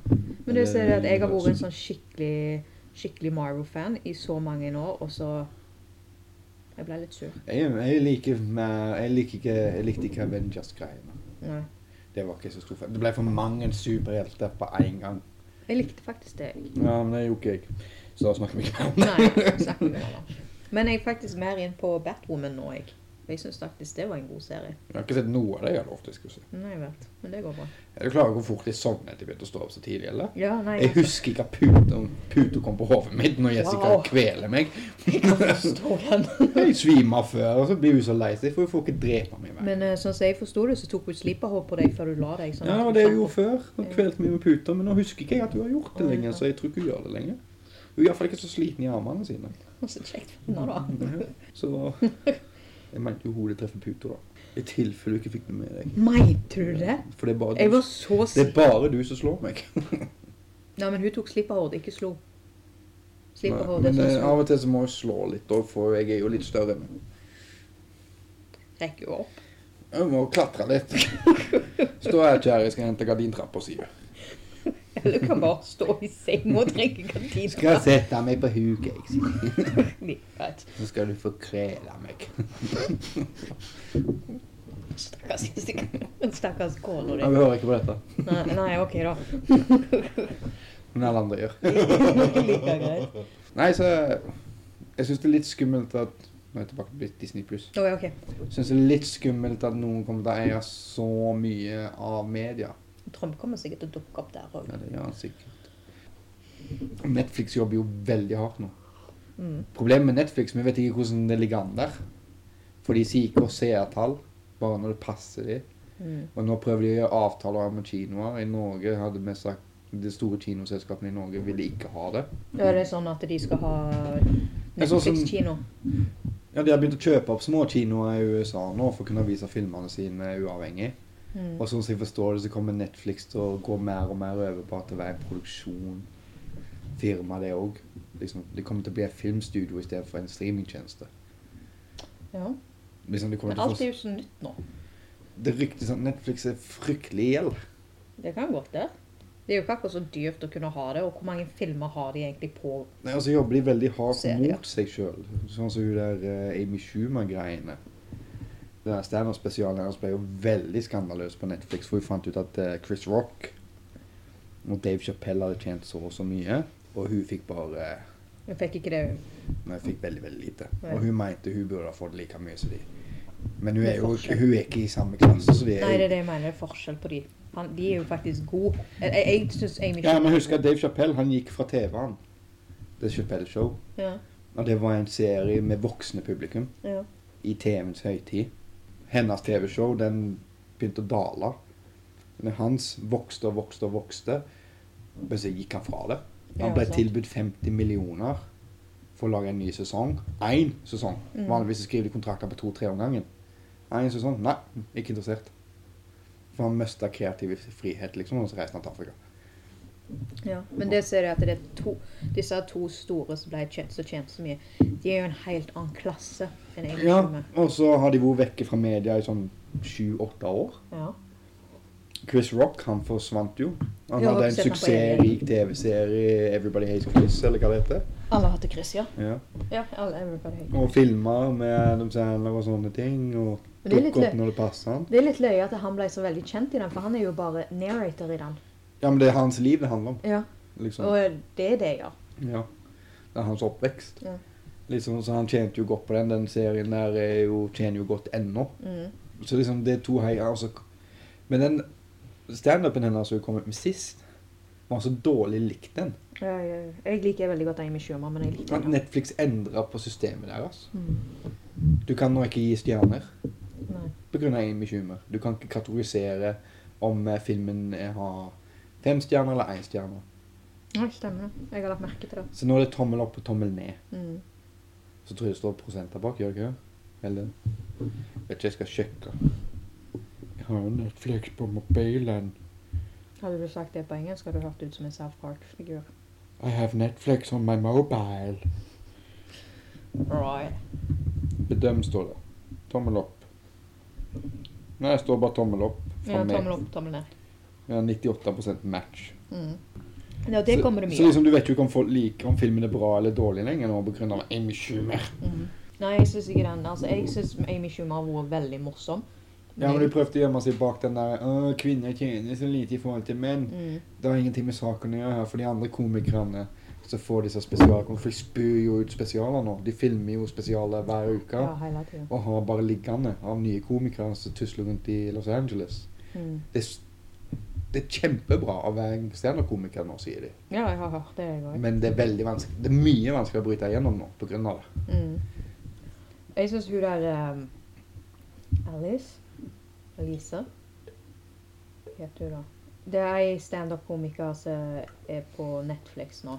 A: Men det som er det at jeg har vært
B: altså-
A: en sånn skikkelig skikkelig Marvel-fan i så mange år, og så Jeg ble litt sur.
B: Jeg, jeg, liker mer, jeg, liker ikke, jeg likte ikke Avengers-greiene.
A: Nei.
B: Det var ikke så stor fan. Det ble for mange superhelter på én gang.
A: Jeg likte faktisk det. jeg.
B: Ja, men det gjorde ikke jeg. Så da snakker vi ikke om det.
A: Nei, jeg snakker ikke om det. Men jeg er faktisk mer inn på Batwoman nå, jeg. Jeg syns faktisk det var en god serie.
B: Jeg har ikke sett noe av det jeg hadde lovt jeg skulle se.
A: Nei, jeg vet. Men det går bra.
B: Er du klar over hvor fort jeg sovnet jeg begynte å stå opp så tidlig, eller?
A: Ja, nei,
B: Jeg husker ikke at puta puta kom på hodet mitt når Jessica
A: Wow.
B: kveler meg.
A: forstår den.
B: Jeg svimer for, og så blir hun så lei seg, for hun får ikke drepe meg. Vel.
A: Men eh, sånn som jeg forsto det, så tok hun sliperhår på deg før du la deg. Sånn
B: Ja, det var det jeg gjorde før. Hun kvelte meg med puta, men nå husker ikke jeg at hun har gjort det
A: Å, ja.
B: lenger, så jeg tror ikke hun gjør det lenger. Hun er iallfall ikke så sliten i armene sine.
A: gjorde. Så kjekt for henne, da.
B: Ja, Så Jeg mente jo hodet treffer puta, da. I tilfelle du ikke fikk det med deg.
A: Nei, tror du det?
B: For det er bare
A: Jeg
B: du,
A: var så
B: det er
A: sint.
B: bare du som slår meg.
A: Nei, men hun tok slipperhår, ikke slo. Slipperhår, det
B: Men
A: som
B: eh,
A: slo.
B: av og til så må jeg slå litt, da, for jeg er jo litt større. Men
A: Rekker jo opp.
B: jeg må klatre litt. Stå her, kjære, jeg skal hente gardintrappa, sier hun.
A: Eller kan bare stå i senga og drikke
B: Skal
A: kantina.
B: jeg sette meg på huket, jeg, sier hun.
A: Nei, vet.
B: Så skal du få krele meg.
A: Stakkars Stakkars kona
B: Ja,
A: di.
B: vi hører ikke på dette.
A: Nei, nei, OK, da.
B: Men alle andre gjør.
A: Like greit.
B: Nei, så Jeg syns det er litt skummelt at Nå er jeg tilbake til Disney pluss.
A: Å, ja, OK.
B: Syns det er litt skummelt at noen kommer til å eie så mye av media.
A: Trump kommer sikkert til å dukke opp der òg.
B: Ja, det gjør han sikkert. Netflix jobber jo veldig hardt nå.
A: Mm.
B: Problemet med Netflix, vi vet ikke hvordan det ligger an der. For de sier ikke å seertall, bare når det passer dem.
A: Mm.
B: Og nå prøver de å gjøre avtaler med kinoer. I Norge hadde vi sagt de store kinoselskapene i Norge ville ikke ha det.
A: Ja, det er sånn at de skal ha
B: er sånn som-
A: Netflix-kino.
B: Ja, De har begynt å kjøpe opp små kinoer i USA nå for å kunne vise filmene sine uavhengig.
A: Mm.
B: Og sånn som jeg forstår det, så kommer Netflix til å gå mer og mer over på at det er en produksjon. Firma, det òg. Liksom, det kommer til å bli et filmstudio istedenfor en streamingtjeneste.
A: Ja.
B: Liksom, det, kommer
A: Men
B: til å
A: alt er
B: få,
A: jo så nytt nå.
B: det ryktes at Netflix er fryktelig i gjeld.
A: Det kan godt det. Det er jo ikke akkurat så dyrt å kunne ha det, og hvor mange filmer har de egentlig på
B: Nei, Og så jobber de veldig hardt
A: Serier.
B: mot seg sjøl. Sånn som hun der eh, Amy Schumer-greiene. Den der Standup-spesialen hennes ble jo veldig skandaløs på Netflix, for hun fant ut at eh, Chris Rock og Dave Chappelle hadde tjent så og så mye, og hun fikk bare
A: Hun fikk ikke det
B: Nei, fikk veldig, veldig lite.
A: Ja.
B: Og hun mente hun burde ha fått like mye som de. Men hun
A: Det er
B: er jo
A: forskjell.
B: hun er ikke i samme klasse som de er.
A: Nei, det
B: i.
A: er det jeg mener. Det er forskjell på de. Han, de er jo faktisk gode. Jeg, jeg, jeg syns Amy
B: Ja, men husk at Dave Chappelle han gikk fra TV-en. The Chappelle Show.
A: Ja,
B: Og det var en serie med voksne publikum
A: ja.
B: i TV-ens høytid. Hennes TV-show den begynte å dale. Men hans vokste og vokste og vokste. Men så gikk han fra det.
A: Ja,
B: Han ble
A: sant.
B: tilbudt 50 millioner for å lage en ny sesong. Én sesong.
A: Mm.
B: Vanligvis så skriver de kontrakter på to-tre om gangen. Én sesong. Nei, ikke interessert. For han mista kreativ frihet, liksom, og så reiste han til Afrika.
A: Ja, men det ser jeg at det er to, disse to store som ble tjent, som tjente så mye, de er jo en helt annen klasse enn jeg
B: Ja,
A: skjønner.
B: og så har de vært vekke fra media i sånn sju-åtte år.
A: Ja.
B: Chris Rock, han forsvant jo. Han
A: Ja,
B: hadde
A: jeg
B: en
A: har ikke sett han på
B: suksessrik TV-serie, 'Everybody Hates Chris', eller hva det heter.
A: Alle har hatt Chris, ja.
B: Ja.
A: Ja, alle everybody hates.
B: Og filmer med Adam Sandler og sånne ting. Og
A: Men det er litt
B: dukker opp
A: lø-
B: når det passer han.
A: Det er litt løye at han ble så veldig kjent i den, for han er jo bare narrator i den.
B: Ja, men det er hans liv det handler om.
A: Ja.
B: liksom.
A: Og det er det jeg gjør.
B: Ja. Det er hans oppvekst.
A: Ja.
B: Liksom, så han tjente jo godt på den. Den serien der er jo, tjener jo godt ennå.
A: Mm.
B: Så liksom, det er to heier. Altså. Men den standupen hennes som hun kom ut med sist, var så dårlig likt den.
A: Jeg, jeg, jeg liker veldig godt Amy Schumer, men jeg liker
B: At
A: henne.
B: Netflix endra på systemet altså. deres.
A: Mm.
B: Du kan nå ikke gi stjerner
A: Nei.
B: pga. Amy Schumer. Du kan ikke kategorisere om eh, filmen eh, har fem stjerner eller én stjerne.
A: Nei, stemmer det. Jeg har lagt merke til det.
B: Så nå er det tommel opp og tommel ned.
A: Mm.
B: Så tror jeg det står prosenter bak, gjør det ikke det? Eller Vet ikke, jeg skal sjekke. Jeg har jo Netflix på mobilen.
A: Hadde du sagt det på engelsk, hadde du hørt ut som en South Park-figur.
B: I have Netflix on my mobile.
A: Right.
B: Bedøm, står det. Tommel opp. Nei, det står bare tommel opp.
A: Ja,
B: meg.
A: tommel opp, tommel ned.
B: Ja, 98 match.
A: Mm. Ja, det kommer det
B: så, så
A: mye av.
B: liksom, du vet jo ikke om folk liker om filmen er bra eller dårlig lenger nå pga. Amy Schumer.
A: Mhm. Nei, jeg syns ikke den. Altså, jeg syns Amy Schumer har vært veldig morsom.
B: Ja, men de prøvde å gjemme seg bak den der «Åh, 'Kvinner tjener så lite i forhold til menn'.
A: Mm.
B: Det har ingenting med saken å gjøre, for de andre komikerne som får disse spesialene For de spyr jo ut spesialer nå. De filmer jo spesialer hver uke.
A: Ja, hele tiden.
B: Og har bare liggende av nye komikere som tusler rundt i Los Angeles.
A: Mm.
B: Det er, s- det er kjempebra å være en standup-komiker nå, sier de.
A: Ja, jeg har hørt det, jeg òg.
B: Men det er veldig vanskelig Det er mye vanskeligere å bryte igjennom nå pga. det.
A: Mm. Jeg syns hun der um, Alice Elise Hva heter hun da? Det er ei standup-komiker som er på Netflix nå.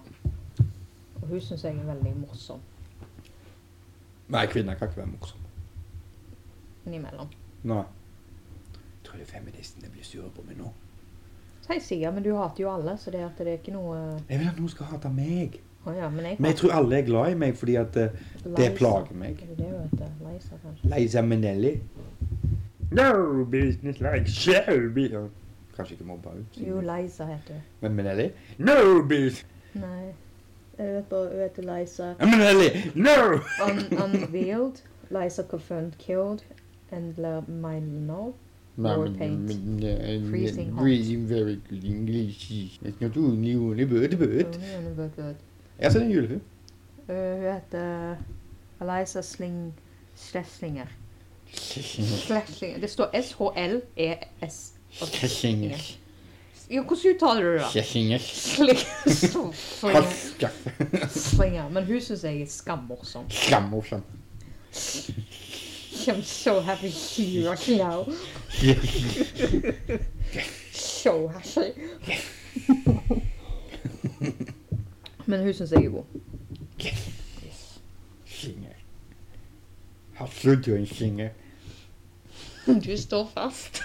A: Og hun syns jeg er veldig morsom
B: Nei, kvinner kan ikke være morsomme.
A: innimellom.
B: Nei. Tror du feministene blir sure på meg nå?
A: Så jeg sier, men du hater jo alle, så det at det er ikke noe
B: Jeg vil at noen skal hate meg.
A: Å ja, men jeg
B: Men jeg tror alle er glad i meg fordi at eh, det
A: Lies.
B: plager meg.
A: Er det det hun heter? Liza, kanskje?
B: Liza Minnelli. No business like showbiz. Ja, Kanskje ikke mobba
A: Jo,
B: henne.
A: Liza heter hun.
B: Men Minnelli? No business
A: Nei. Jeg vet bare, hun heter Liza.
B: Minnelli! No!
A: Un unveiled, Liza confirmed killed, Endler Milnov. More
B: Mamma,
A: paint.
B: mm, mm,
A: Freezing hot.
B: Reading very good English. It's not only only bird, bird.
A: Hun
B: Jeg har sett en julefilm.
A: Eh, heter Eliza Sling... Schlesinger. Schlesinger. Det står S-H-L-E-S.
B: Kjessinger.
A: Jo, E hvordan uttaler du det?
B: Kjessinger.
A: Slinger. Slinger. Men hun syns jeg er skammorsom.
B: Skammorsom.
A: I'm so happy to you right now. So happy. Men hun syns jeg er god.
B: Singer. Har slutt å synge.
A: Du står fast.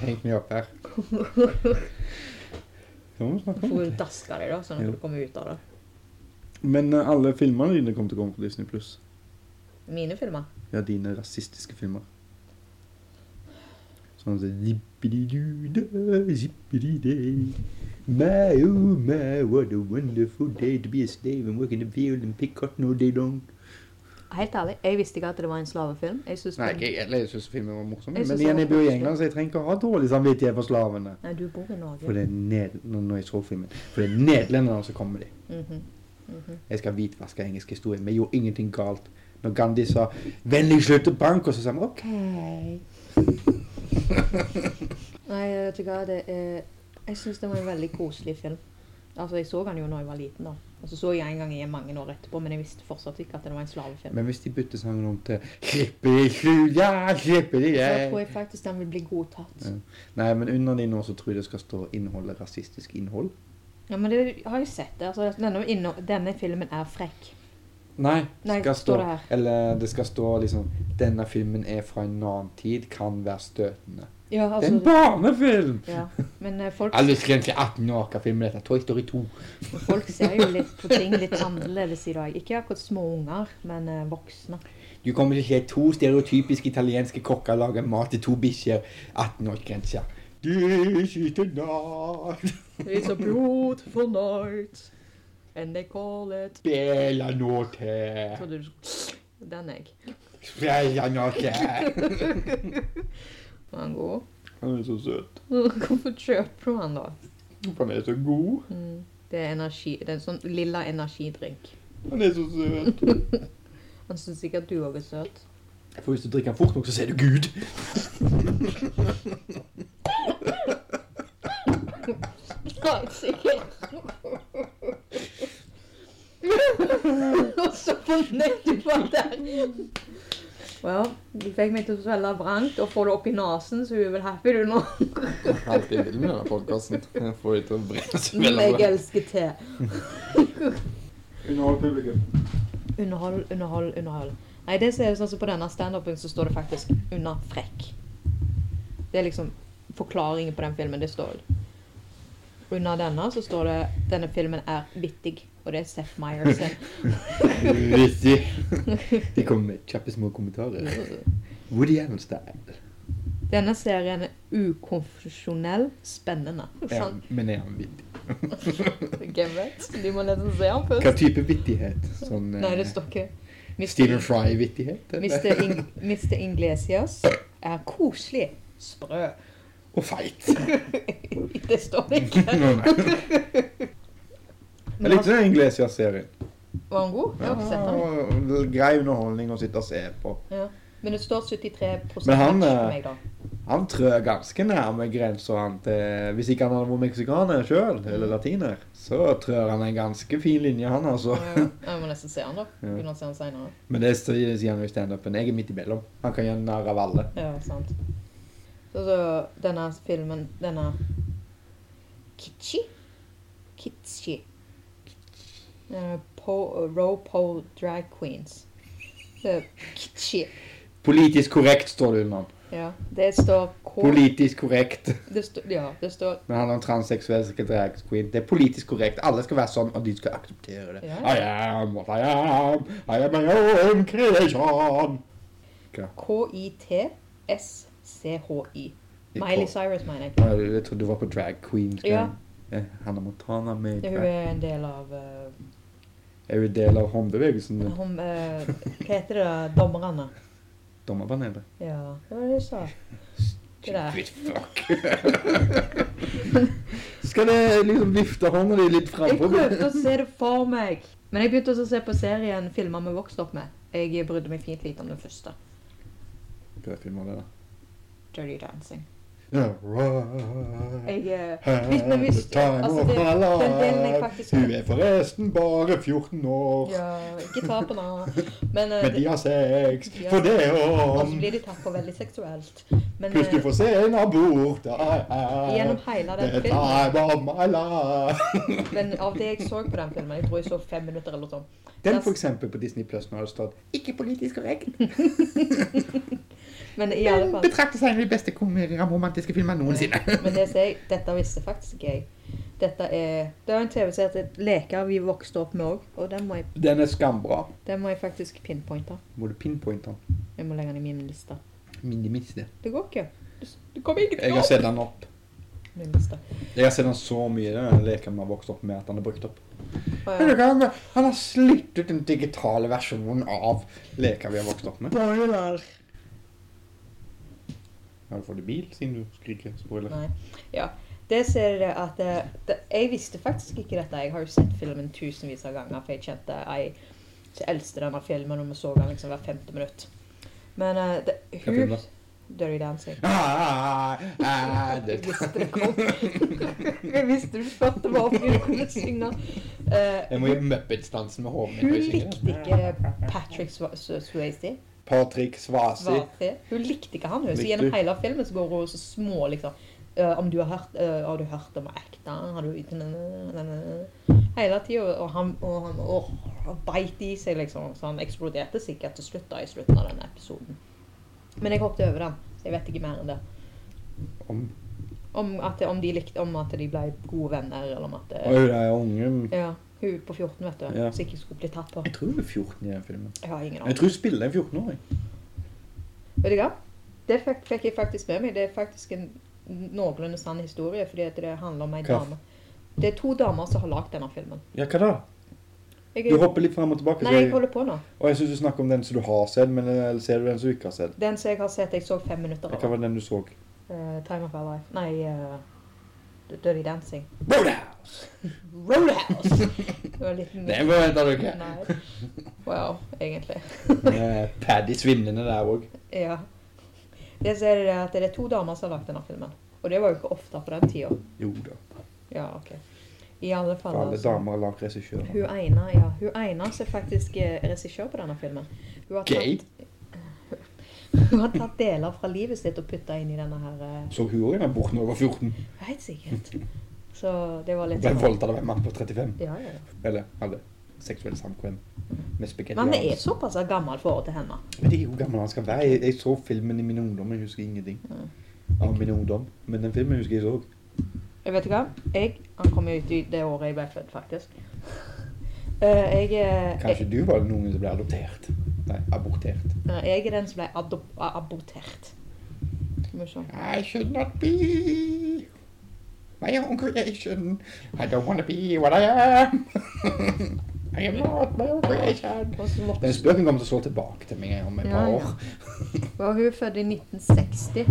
B: Heng meg opp her. Så må vi snakke om
A: Får
B: det.
A: daske deg, da, sånn at du kommer ut av det.
B: Men eh, alle filmene dine kommer til å komme på Disney Pluss.
A: Mine filmer.
B: Ja, dine rasistiske filmer. Sånn som Zippidi-duda, zippidi-day. My, oh my, what a wonderful day to be a slave and work in the field and pick cotton all day long.
A: Helt ærlig, jeg visste ikke at det var en slavefilm. Jeg synes
B: Nei, ikke egentlig. Jeg syns filmen var morsom.
A: Jeg
B: Men
A: synes
B: igjen,
A: det var
B: jeg bor i
A: morsom.
B: England, så jeg trenger ikke å ha dårlig samvittighet for slavene.
A: Nei, du bor i Norge.
B: For det er ned... Nå når jeg så filmen. For det er nederlenderne som kommer dit.
A: Mhm, mhm.
B: Jeg skal hvitvaske engelsk historie. Vi gjorde ingenting galt. Når Gandhi sa 'vennlig slutt å banke', og så sa vi 'OK'.
A: Nei, jeg vet ikke hva det er Jeg syns det var en veldig koselig film. Altså, Jeg så den jo da jeg var liten. da. Og så så jeg en gang igjen mange år etterpå, men jeg visste fortsatt ikke at det var en slavefilm.
B: Men hvis de bytter sangen om til 'Slippe de slu, ja, slippe de
A: Så jeg tror
B: jeg'.
A: jeg faktisk den vil bli godtatt.
B: Ja. Nei, men under de nå så tror jeg det skal stå innholdet rasistisk innhold.
A: Ja, men det har jeg sett. det. Altså, denne, inno- denne filmen er frekk.
B: Nei,
A: Nei, står
B: skal stå
A: det her.
B: Eller det skal stå liksom denne filmen er fra en annen tid, kan være støtende.
A: Ja,
B: det er en
A: altså,
B: barnefilm!
A: ja. Men eh, folk,
B: Alle skrev til 18 år hva filmen heter. Toy Story 2.
A: folk ser jo litt på ting litt annerledes i dag. Ikke akkurat små unger, men eh, voksne.
B: Du kommer til å se to stereotypiske italienske kokker lage mat til to bikkjer. 18-årsgrense. Du skyter natt,
A: It's a beautiful night, and they call it
B: spela nå til,
A: Trodde du liksom, Den er jeg.
B: spela nå til.
A: Var han god?
B: Han er så søt.
A: Hvorfor kjøper du han da?
B: Han er så god.
A: Mm. Det, er energi, det er en sånn lilla energidrink.
B: Han er så søt.
A: Han syns sikkert du òg er søt.
B: For hvis du drikker den fort nok, så sier du Gud.
A: Ja, sikkert. Og så fornøyd du var der. Well, du fikk meg til å svelge vrangt og få det opp i nesen, så hun er vel happy du nå.
B: Alt jeg vil med denne podkasten. Jeg får dem til å brenne seg
A: Jeg elsker te.
B: Underhold publikum.
A: Underhold, underhold, underhold. Nei, det som er sånn som på denne standupen så står det faktisk 'under frekk'. Det er liksom forklaringen på den filmen. Det står Under denne så står det 'denne filmen er vittig', og det er Seth Meyers.
B: Vittig. De kommer med kjappe små kommentarer. Woody Allen-style.
A: Denne serien er ukonfesjonell spennende.
B: Ja,
A: Sant?
B: men er han vittig?
A: Hvem vet? De må nesten se den
B: Hva
A: først.
B: type vittighet? Sånn
A: Nei, det
B: eh,
A: står ikke.
B: Stephen Fry-vittighet? eller?
A: Mr. Ing Mr. Inglesias er koselig, sprø.
B: Og feit.
A: Det står det ikke.
B: Nå, nei. Jeg likte den Inglesia-serien.
A: Var han god? Jeg har ikke sett han.
B: Og Grei underholdning å sitte og se på.
A: Ja. Men det står 73
B: Men han,
A: match
B: eh,
A: for meg, da.
B: Han trør ganske nærme grensa han til Hvis ikke han hadde vært meksikaner sjøl,
A: Mm.
B: eller latiner, så trør han en ganske fin linje, han altså.
A: Ja, ja. Jeg må nesten se han, da.
B: Ja.
A: Begynner å se han senere.
B: Men det sier sier han jo i standupen. Jeg er midt imellom. Han kan gjøre narr av alle.
A: Ja, sant. Så, så denne filmen Denne Kitschy? Kitschy. Eh, Po, row po drag queens. Det er kitschy.
B: Politisk korrekt står det under han.
A: Ja. Det står K...
B: Politisk korrekt.
A: Det står, ja, det står
B: Men han er en transseksuell som skal drag queen. Det er politisk korrekt. Alle skal være sånn, og de skal akseptere det.
A: Ja.
B: I am what I am. I am my own creation.
A: K-I-T-S-C-H-I.
B: I
A: Miley
B: K-
A: Cyrus, mener jeg.
B: Å, Jeg jeg trodde du var på drag queen. skal
A: Ja.
B: jeg- Eh, Hannah Montana med
A: Hun
B: drag.
A: er en del av eh,
B: Er sånn hun del av håndbevegelsen? din?
A: Hun, eh, hva heter det, dommerne?
B: Dommerpanelet.
A: Ja, det var det jeg sa. Det der.
B: Stupid fuck. Skal jeg liksom vifte hånda di litt
A: Jeg
B: frampå?
A: prøvde å se det for meg. Men jeg begynte også å se på serien filmer vi vokste opp med. Jeg brydde meg fint lite om den første.
B: Hva filmer det, da?
A: Dirty Dancing.
B: Yeah, right.
A: Jeg eh, Hvis- men
B: Had
A: hvis-
B: the time
A: altså,
B: of
A: det-
B: my
A: den delen jeg
B: life.
A: faktisk-
B: Hun er forresten bare 14 år.
A: Ja, ikke ta på den. Men, eh,
B: Men de
A: det-
B: har sex,
A: Ja.
B: for det
A: og så
B: om
A: blir de tatt på veldig seksuelt. Altså, Men
B: Pluss du
A: eh,
B: får se en abort. I am
A: gjennom hele
B: the
A: den filmen
B: time of my life.
A: Men av det jeg så på den filmen, jeg tror jeg så fem minutter eller noe sånt.
B: Den for eksempel på Disney Plus nå har det stått 'ikke politisk korrekt'.
A: Men i alle
B: Den
A: fall
B: betrakter seg en av de beste kom- romantiske filmene noensinne.
A: Men det sier jeg, dette visste faktisk ikke jeg. Dette er Det er en TV-serie som heter Leker vi vokste opp med òg, og den må, jeg,
B: Den er skambra.
A: den må jeg faktisk pinpointe.
B: Må du pinpointe den?
A: Jeg må legge den i min liste.
B: Minimis det.
A: Det går ikke. Du, s- du kommer ikke
B: Jeg
A: til
B: har
A: å
B: sett den opp.
A: Min liste.
B: Jeg har sett den så mye, den leken vi har vokst opp med, at den er brukt opp.
A: Å,
B: Men du
A: ja.
B: kan- Han har slitt ut den digitale versjonen av leker vi har vokst opp med.
A: Spoiler!
B: Har du fått det bil siden du skriker spoiler?
A: Nei. Ja. Det ser jeg at eh, det, Jeg visste faktisk ikke dette. Jeg har jo sett filmen tusenvis av ganger, for jeg kjente jeg så eldste denne filmen, og vi så den liksom hvert femte minutt. Men uh, det,
B: Hva film da?
A: hun Dirty Dancing.
B: Ah, ah,
A: Jeg
B: det-
A: visste det kom. Jeg visste du først det var fordi du kunne synge. Eh,
B: Jeg må gjøre Muppets-dansen med hodet
A: hun
B: mitt. når jeg synger
A: likte
B: den.
A: ikke Patrick Swa- Su- Swayze.
B: Patrick Svasi.
A: Svarte. Hun likte ikke han. hun. Så
B: Likte
A: gjennom
B: hun?
A: hele filmen så går hun så små, liksom. Eh, om du har hørt, eh, har du hørt om ekte har du, Hele tida. Og han, og han, åh, han beit i seg, liksom. Så han eksploderte sikkert til slutt da, i slutten av den episoden. Men jeg hoppet over den, så jeg vet ikke mer enn det.
B: Om
A: Om, at, om de likte om at de ble gode venner, eller om at eh,
B: Oi, det er ungen.
A: Ja, hun på 14, vet du.
B: Ja.
A: Så jeg ikke skulle bli tatt på.
B: Jeg tror hun er 14 i den filmen.
A: Jeg har ingen
B: Jeg
A: aning.
B: tror hun spiller en 14-åring.
A: Vet du hva? Det fikk, fikk jeg faktisk med meg. Det er faktisk en noenlunde sann historie, fordi at det handler om ei
B: Hva?
A: dame. Det er to damer som har lagd denne filmen.
B: Ja, hva da?
A: Jeg,
B: Du hopper litt frem og tilbake. så
A: Nei, jeg
B: jeg,
A: holder på nå.
B: og jeg syns du snakker om den som du har sett, men eh, ser du den som du ikke har sett?
A: Den som jeg har sett, jeg så fem minutter
B: Hva
A: av.
B: var den du så?
A: Eh, Time of Our Life. Nei, eh, Dirty Dancing.
B: Roadhouse!
A: Roadhouse! Det var en liten
B: Den forventa du
A: Nei. Wow, egentlig.
B: Med Paddy svimlende der òg.
A: Ja. Det som er det, at det er to damer som har lagd denne filmen. Og det var jo ikke ofte på den tida.
B: Jo da.
A: Ja, ok. I alle fall,
B: For alle
A: altså.
B: damer har lagd regissører.
A: Hun ene, ja. Hun ene som faktisk er regissør eh, på denne filmen. Hun har
B: Gay?
A: tatt- Hun har tatt deler fra livet sitt og putta inn i denne her eh,
B: Så hun òg er borte når hun var 14.
A: Helt sikkert. Så det var litt
B: Ble
A: sånn-
B: voldtatt av en mann på 35.
A: Ja, ja, ja.
B: Eller hadde seksuell samkvem med spagetti.
A: Men vi er såpass gammel forhold til henne.
B: Jeg vet ikke hvor gammel han skal være. Jeg, jeg så filmen i min ungdom, jeg husker ingenting
A: Mm.
B: av min ungdom. Men den filmen husker jeg så.
A: Jeg vet ikke hva. Jeg, Han kom jo ut i det året jeg ble født, faktisk. Eh, jeg, eh,
B: Kanskje du var den ungen som ble adoptert. Nei, abortert.
A: Nei, Jeg er eh, den som ble adop a- abortert. Skal vi se.
B: I should not be my own creation. I don't want to be what I am. I am not my own creation.
A: Og så
B: Den
A: voksen-
B: spøken kommer til å slå tilbake til meg om et
A: Ja,
B: par
A: ja.
B: år.
A: var hun født i 1960,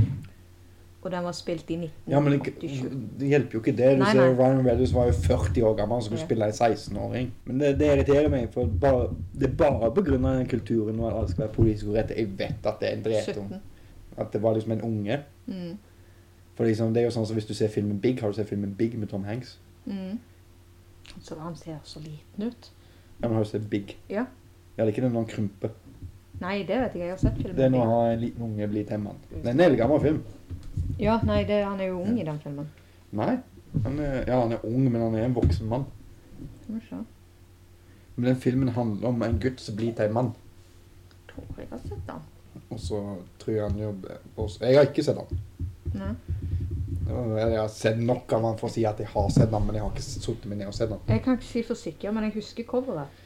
A: og den var spilt i
B: Ja, men det,
A: 1987.
B: det hjelper jo ikke det. Du
A: Nei,
B: ser
A: nei.
B: Ryan Reynolds var jo 40 år gammel og skulle
A: Ja.
B: spille en 16-åring. Men det, det irriterer meg, for bare, det er bare på grunn av den kulturen og at alt skal være politisk korrekt. Jeg vet at det er en dretung.
A: 17.
B: At det var liksom en unge.
A: Mm.
B: For liksom, det er jo sånn som hvis du ser filmen Big, har du sett filmen Big med Tom Hanks?
A: Mm. Så han ser så liten ut.
B: Ja, men har du sett Big?
A: Ja.
B: Ja, det er ikke den når han krymper.
A: Nei, det vet jeg. Jeg har sett filmen.
B: Det er når han en liten unge blir til en mann. Det er en eldgammel film.
A: Ja, nei, det, han er jo ung i den filmen.
B: Nei. Han er, ja, han er ung, men han er en voksen mann.
A: Skal vi se.
B: Men den filmen handler om en gutt som blir til en mann.
A: Tror jeg har sett den.
B: Og så tror jeg han jo også- Jeg har ikke sett han.
A: Nei.
B: Jeg har sett nok av han for å si at jeg har sett han, men jeg har ikke suttet meg ned og sett han.
A: Jeg kan ikke si for sikker, men jeg husker coveret.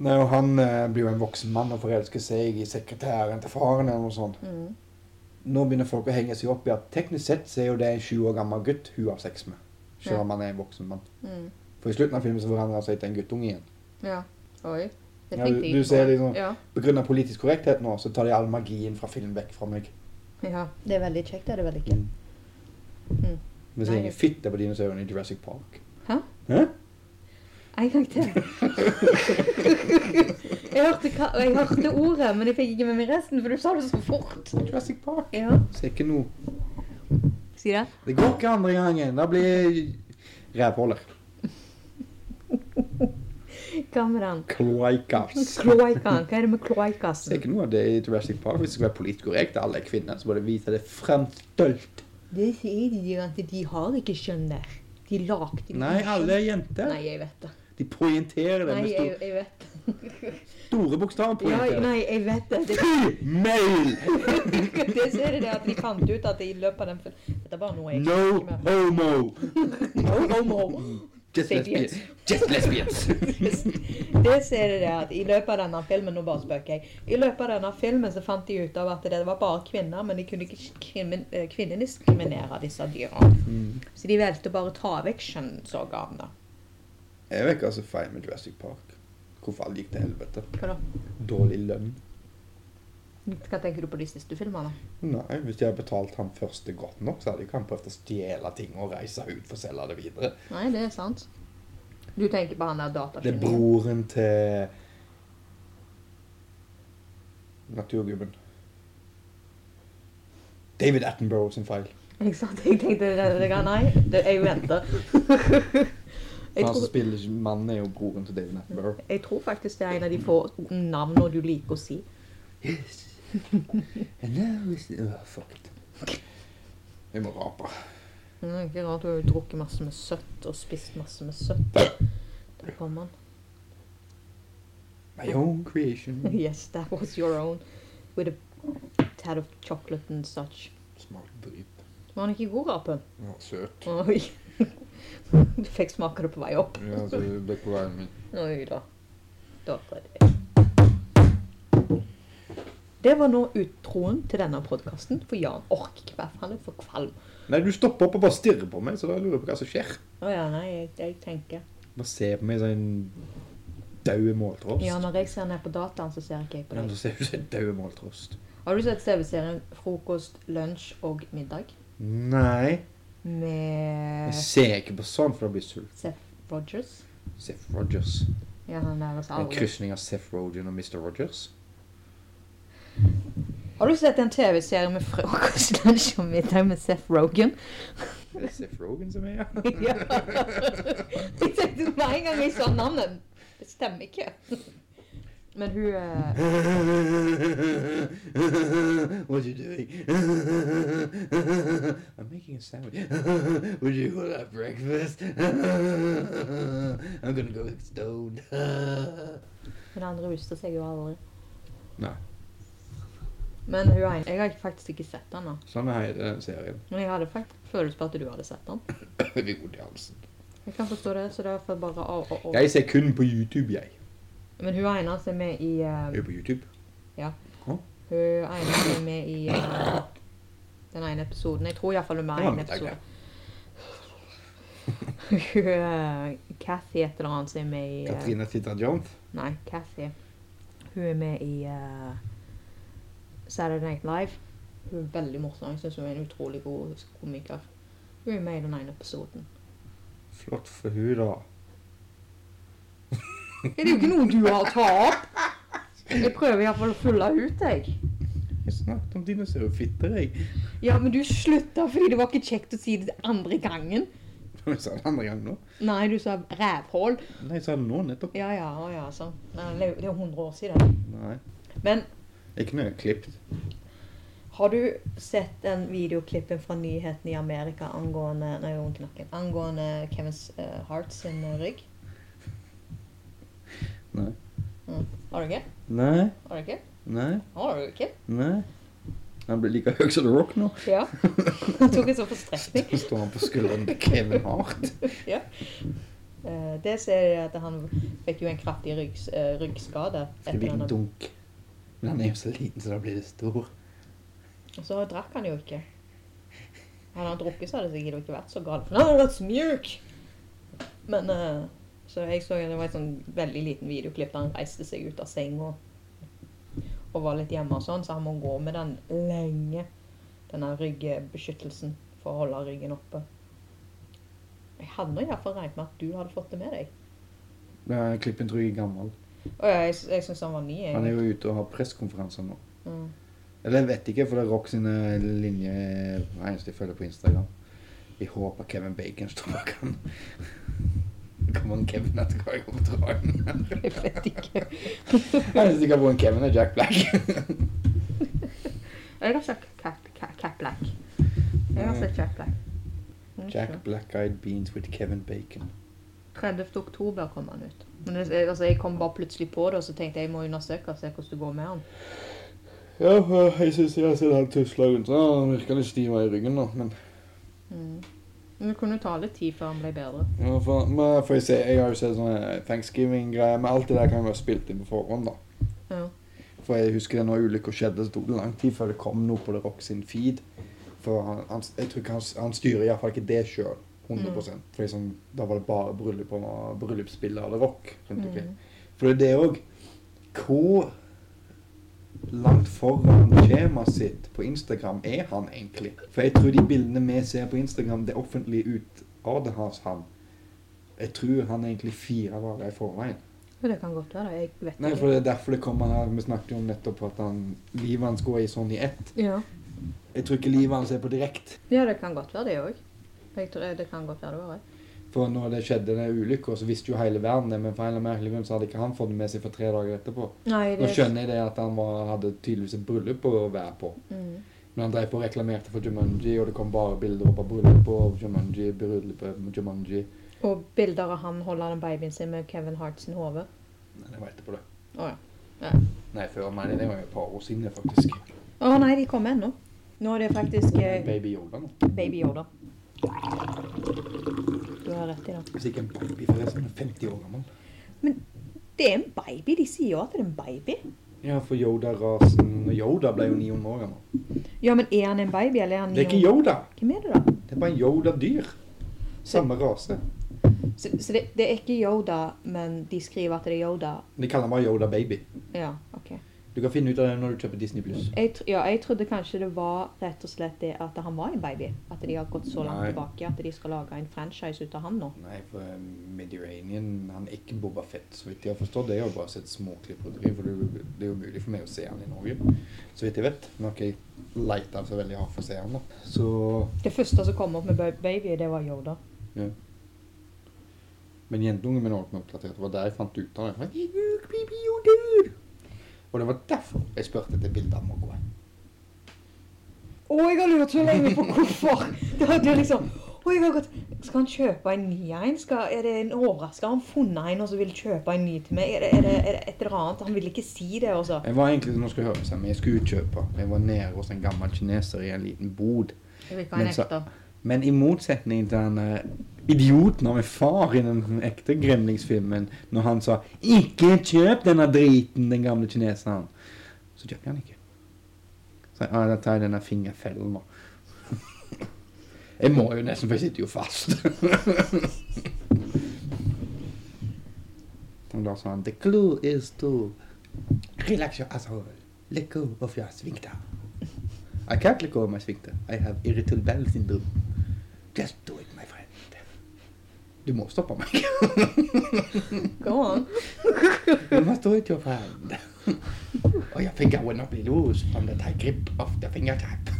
B: Nei, og han eh, blir jo en voksen mann og forelsker seg i sekretæren til faren eller noe sånt.
A: Mm.
B: Nå begynner folk å henge seg opp i at teknisk sett så er jo det en 20 år gammel gutt hun har sex med. Selv om han er en voksen mann.
A: Mm.
B: For i slutten av filmen så forandrer han seg til en guttunge igjen.
A: Ja. Oi. Det
B: Ja,
A: tenkte
B: du-
A: jeg
B: du
A: ikke på.
B: ser liksom-
A: Ja.
B: På grunn av politisk korrekthet nå, så tar de all magien fra film vekk fra meg.
A: ja. Det er veldig kjekt, det er det vel ikke?
B: Mm.
A: Mm.
B: Vi ser ingen fitte på dinosaurene i Jurassic Park.
A: Hæ?
B: Hæ?
A: En gang til. jeg, hørte, hva- jeg hørte ordet, men jeg fikk ikke med meg resten, for du sa det så fort.
B: Jurassic Park.
A: Ja.
B: Ser ikke noe.
A: Si det.
B: Det går ikke andre gangen. Da blir rævholder.
A: Hva med den?
B: Kloakas.
A: Kloakken. Hva er det med altså? kloakken?
B: Det er ikke noe av det i Jurassic Park. Hvis det skal være politisk korrekt, alle er kvinner, så må det vise det fremstølt.
A: Det sier de der at de har ikke skjønn der. De lagde ikke
B: Nei,
A: skjønn.
B: alle er jenter.
A: Nei, jeg vet det.
B: De poengterer det
A: Nei,
B: med
A: jeg,
B: store,
A: jeg vet det.
B: store bokstaver.
A: Ja,
B: poengterer det.
A: nei, jeg vet det. Det,
B: Male!
A: det ser det at de fant ut at i løpet av den fil- Dette var noe jeg
B: No
A: ikke med.
B: homo!
A: No homo.
B: Just lesbians. Just lesbians.
A: Det ser jeg det at I løpet av denne filmen nå bare spøker jeg, i løpet av denne filmen så fant de ut av at det var bare kvinner, men de kunne ikke krimin- eh, kvinnediskriminere disse dyrene.
B: Mm.
A: Så de valgte å bare ta vekk kjønnsorganene.
B: Jeg vet ikke hva som er feil med Jurassic Park. Hvorfor alle gikk til helvete.
A: Hva da?
B: Dårlig lønn.
A: Hva tenker du på de siste filmene?
B: Nei, hvis de hadde betalt han første godt nok, så hadde ikke han prøvd å stjele ting og reise ut for å selge det videre.
A: Nei, det er sant. Du tenker på han der
B: Det er
A: datafilmen?
B: broren til Naturgubben. David Attenborough sin feil.
A: Ikke sant? Jeg tenkte det, det, det, Nei, det, jeg venter. jeg,
B: Han som
A: tror,
B: spiller mannen, er jo broren til David Attenborough.
A: jeg tror faktisk det er en av de få navnene du liker å si.
B: Yes. And now is the... Oh, fuck it. Jeg må rape.
A: Men det er ikke rart du har jo drukket masse med søtt og spist masse med søtt. Der kom han.
B: My own creation.
A: Yes, that was your own. With a tad of chocolate and such.
B: Smakte drit.
A: Var han ikke god, apen?
B: Den var søt.
A: Oi. Du fikk smake det på vei opp.
B: Ja, så det ble på veien min.
A: Oi da. Da prøvde jeg. Det var nå utroen til denne podkasten, for Jan orker ikke være han er for kvalm.
B: Nei, du stopper opp og bare stirrer på meg, så da lurer jeg på hva som skjer.
A: Å ja, nei, jeg, jeg tenker.
B: Bare ser på meg som en død måltrost.
A: Ja, når jeg ser ned på dataen, så ser ikke jeg på
B: Ja,
A: deg.
B: så ser du som en død måltrost.
A: Har du sett TV-serien Frokost, lunsj og middag?
B: Nei.
A: Med Eh.
B: Jeg ser ikke på sånn, for da blir jeg sulten.
A: Seth Rogers?
B: Seth Rogers.
A: Ja, han der også
B: En
A: aldri.
B: krysning av Seth Rogen og Mr. Rogers.
A: Har du sett en TV-serie med frokost, lunsj og middag med Seth Rogen?
B: Er det Seth Rogen som er, ja?
A: ja. Jeg tenkte med en gang jeg sa navnet. Det stemmer ikke. Men hun eh,
B: What you doing? I'm making a sandwich. Would you want to have breakfast? I'm gonna go with stone.
A: Hun andre ruster seg jo aldri.
B: Nei.
A: Men hun ene Jeg har ikke- faktisk ikke sett den. da.
B: Sånn er det i den serien.
A: Men jeg hadde faktisk følelse på at du hadde sett den.
B: Viggo Jansen.
A: Jeg kan forstå det, så derfor bare å, å, å.
B: Jeg ser kun på YouTube, jeg.
A: Men hun ene som er med i eh,
B: Er du på YouTube?
A: Hun ene som er med i eh, den ene episoden. Jeg tror iallfall hun er med i
B: Det var
A: en
B: mitt
A: episode. Hun eh, Kathy et eller annet som er med i eh,
B: Katrina Tita Jones?
A: Nei, Kathy. Hun er med i eh, Saturday Night Live. Hun er veldig morsom. Jeg syns hun er en utrolig god komiker. Hun er med i den ene episoden.
B: Flott for hun da.
A: Er det jo ikke noe du har å ta opp? Jeg prøver iallfall å fylle ut, jeg.
B: Jeg snakket om dinosaurfitter, jeg.
A: Ja, men du slutta fordi det var ikke kjekt å si det andre gangen.
B: Jeg sa det andre gang nå.
A: Nei, du sa rævhål.
B: Nei, jeg sa det nå nettopp.
A: Ja, ja, å ja, sånn. Nei, det er jo- det er jo 100 år siden.
B: Nei.
A: Men
B: Ikke noe jeg har klippt.
A: Har du sett den videoklippen fra nyhetene i Amerika angående Nei, rundknakken. Angående Kevin eh, Hart sin eh, rygg?
B: Nei.
A: Mm. Har du ikke?
B: Nei.
A: Har du ikke?
B: Nei.
A: Har du ikke?
B: Nei. Han blir like høy som The Rock nå.
A: Ja. Han tok en sånn forstrekning.
B: Så står han på skulderen til Kevin Hart.
A: Eh, det ser jeg at han fikk jo en kraftig ryggs, eh, ryggskade.
B: En
A: Etter
B: liten
A: denne.
B: dunk. Men han er jo så liten, så da blir det stor.
A: Og så drakk han jo ikke. Hadde han drukket, så hadde det sikkert ikke vært så galt. For han hadde vært så mjuk! Men eh, Så jeg så det var et sånn veldig liten videoklipp der han reiste seg ut av senga og var litt hjemme og sånn, så han må gå med den lenge. Denne ryggbeskyttelsen for å holde ryggen oppe. Jeg hadde nå iallfall regnet med at du hadde fått det med deg.
B: Nei, Klippen tror jeg er gammel.
A: Og jeg, jeg syns han var ny.
B: Han er
A: Jeg.
B: jo ute og har pressekonferanser nå.
A: Mm.
B: Eller jeg vet ikke, for det er Rock sine linjer hver eneste jeg følger på Instagram. Jeg håper Kevin Bacon står bak han. Kommer han Kevin etter hva jeg kommer til å dra inn?
A: Jeg vet ikke.
B: Jeg er sikker på en Kevin er Jack Black.
A: Jeg har sett Cap, Cap, Cap Black. Jeg har sett Cap Black. Mm,
B: Jack
A: så.
B: Black Eyed Beans with Kevin Bacon.
A: 30. oktober kom han ut. Men det, jeg- altså, jeg kom bare plutselig på det, og så tenkte jeg jeg må undersøke og se hvordan det går med han.
B: Ja, jeg syns jeg har sett han tusle rundt. Han virker litt stiv i ryggen nå, men
A: Mm. Men det kunne jo ta litt tid før han ble bedre.
B: ja, for, men får jeg se. Jeg har jo sett sånne thanksgiving-greier, men alt det der kan jo være spilt inn på forhånd, da.
A: Ja.
B: For jeg husker det når ulykker skjedde, så tok det lang tid før det kom noe på The Rock sin feed. For han, han, jeg tror ikke han, han styrer iallfall ikke det sjøl. 100 For liksom, Da var det bare bryllup og bryllupsbilder av The Rock. rundt omkring.
A: Mm.
B: For det er det òg. Hvor langt foran skjemaet sitt på Instagram er han egentlig? For jeg tror de bildene vi ser på Instagram, det offentlige utarter hans han. Jeg tror han er egentlig fire dager i forveien.
A: Jo, det kan godt være. Jeg vet
B: Nei,
A: ikke.
B: for det er derfor det kommer her. Vi snakket jo om nettopp at han, livet hans går i sånn i ett.
A: Ja.
B: Jeg tror ikke livet hans er på direkte.
A: ja, det kan godt være det òg. Jeg tror det kan godt være det òg.
B: For når det skjedde den ulykka, så visste jo hele verden det, men for en eller annen merkelig grunn så hadde ikke han fått det med seg for tre dager etterpå.
A: Nei,
B: Nå skjønner jeg det at han var, hadde tydeligvis et bryllup å være på.
A: mm.
B: Men han drev på og reklamerte for Jumanji, og det kom bare bilder opp av bryllup på Jumanji, bryllup på Jumanji.
A: Og bilder av han holder den babyen sin med Kevin Hart sin hode.
B: Nei, det var etterpå det.
A: Å ja.
B: Nei, før meg, det var jo et par år siden, faktisk.
A: Å nei, de kommer ennå. Nå er det faktisk eh,
B: Baby Yoda nå.
A: Baby Yoda. Du har rett i det.
B: Hvis ikke en baby, forresten. 50 år gammel.
A: Det er en baby. De sier jo at det er en baby.
B: Ja, for Yoda-rasen Yoda ble jo 900 år gammel.
A: Ja, men er han en baby, eller er han
B: Det er ikke Yoda.
A: Hvem er det, da?
B: Det er bare en Yoda-dyr. Samme rase.
A: Så, så det, det er ikke Yoda, men de skriver at det er Yoda.
B: De kaller meg Yoda-baby.
A: Ja, OK.
B: Du kan finne ut av det når du kjøper Disney Pluss.
A: Jeg, tr ja, jeg trodde kanskje det var rett og slett det at han var en baby. At de har gått så langt
B: Nei.
A: tilbake at de skal lage en franchise ut av han nå.
B: Nei, for eh, Mediterranean han er ikke Boba Fett. Så vidt jeg har forstått det. Jeg har bare sett småklipp på det, for det det er jo mulig for meg å se han i Norge. Så vidt jeg vet. Nå har ikke jeg leita så veldig hardt for å se han, da. Så
A: Det første som kom opp med ba- baby, det var Yoda.
B: Men jentungen min holdt meg oppdatert. Det var der jeg fant ut av det. Jeg var, "Look, baby, you're dead." Og det var derfor jeg spurte etter bilde av Mogwai.
A: Å, jeg har lurt så lenge på hvorfor! Det hadde jo liksom Å, jeg har gått Skal han kjøpe en ny en? Skal, er det en overraskelse? Har han funnet en og så vil kjøpe en ny til meg? Er det, er det, er det et eller annet? Han vil ikke si det, altså.
B: Jeg var egentlig, nå skal jeg høre seg, men jeg skulle utkjøpe. Jeg var nede hos en gammel kineser i en liten bod.
A: Jeg vil ikke
B: ha en Men så- ekte. Men i motsetning til den eh, idioten av min far i den ekte Gremlings-filmen, når han sa 'Ikke kjøp denne driten', den gamle kineseren, så kjøpte jeg den ikke. Så jeg, ah, da tar jeg denne fingerfellen, da. Jeg må jo nesten, for jeg sitter jo fast. Og da sa han 'The clue is to relax your asshole. Let go of your sphincter'. I can't let go of my sphincter. I have irritable bowel syndrome. Just do it, my friend. Du må stoppe meg.
A: Go on.
B: You must do it, your friend. Oh, your finger will not be loose from the tight grip of the fingertip.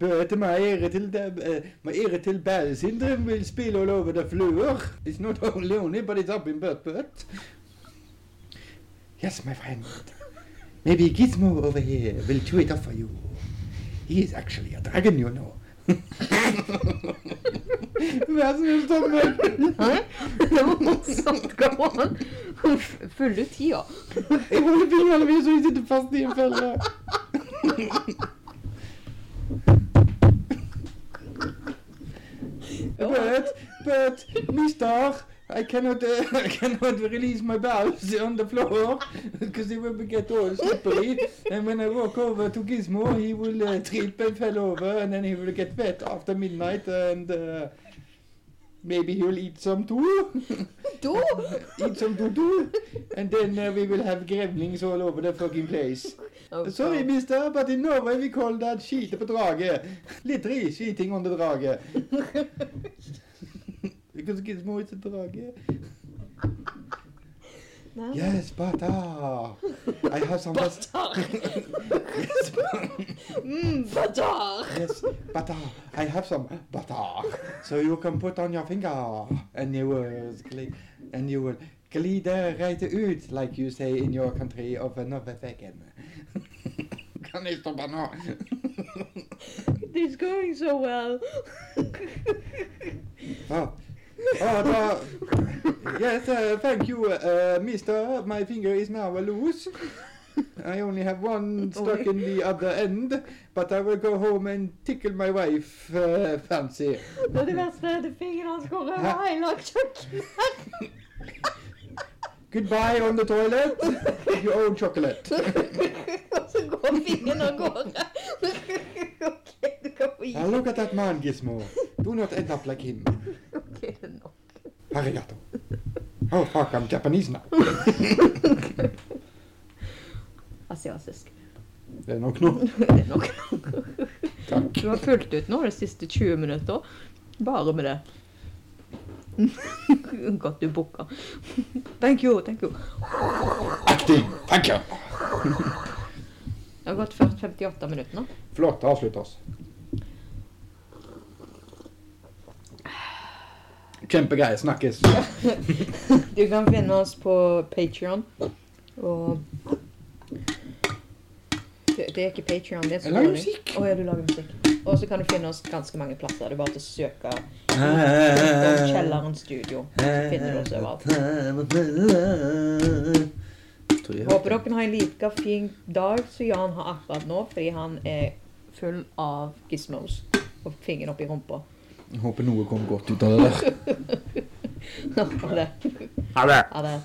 B: Bøte my irritable, uh, my irritable bowel syndrome will spill all over the floor. It's not only only, but it's up in butt butt. Yes, my friend. Maybe Gizmo over here will chew it up for you. He is actually a dragon, you know. Hva er det som står med?
A: Hæ? Det var morsomt. Go on. F- Fulle tida.
B: Jeg holder fingrene mine så de sitter fast i en felle. But, but, mister, I cannot, uh, I cannot release my bowels on the floor because they will get all slippery. And when I walk over to Gizmo, he will uh, trip and fall over, and then he will get wet after midnight, and uh, maybe he will eat some too.
A: Da
B: eat some doo-doo, and then uh, we will have gremlings all over the fucking place.
A: Oh,
B: Sorry, mister, but in Norway we call that skite på drage. Literally skiting on the drage. Because Gizmo is a drage.
A: Nei.
B: Yes, but ah, I have some...
A: Batar.
B: Yes, but,
A: Mm, batar.
B: yes, but ah, I have some butter. So you can put on your finger, and you will, gli- and you will glide right ut, like you say in your country of another vegan. kan jeg stoppe nå?
A: It's going so well.
B: Oh. Oh, da. Yes, uh, thank you, uh, mister. My finger is now loose. I only have one stuck in the other end, but I will go home and tickle my wife uh, fancy.
A: Det er det verste er at fingeren hans går over hele kjøkkenet.
B: Goodbye on the toilet. Your own chocolate.
A: Og så går fingeren av gårde. OK, du kan få gi
B: Now look at that man, Gizmo. Do not end up like him.
A: OK det er nok.
B: Arigato. Oh, fuck, I'm Japanese now.
A: Asiatisk.
B: Det er nok nå.
A: Det er nok.
B: Takk.
A: Du har fulgt ut nå de siste 20 minutter. Bare med det. Godt du booka. Thank you, thank you.
B: Acting. Thank you.
A: Det har gått 58 minutter nå.
B: Flott, avslutt oss. Kjempegreie. Snakkes.
A: Du kan finne oss på Patreon. Og det, det er ikke Patreon, det er
B: Jeg lager
A: Skåning.
B: musikk.
A: Å ja, du lager musikk. Og så kan du finne oss ganske mange plasser. Det er bare til å søke om
B: Eh, Kjelleren.
A: Kjelleren studio. Finner du oss overalt.
B: tror jeg.
A: Håper dere har en like fin dag som Jan har akkurat nå, fordi han er full av gizmos og fingeren oppi rumpa.
B: Håper noe kom godt ut av det der.
A: Ha det.
B: Ha det!
A: Ha det.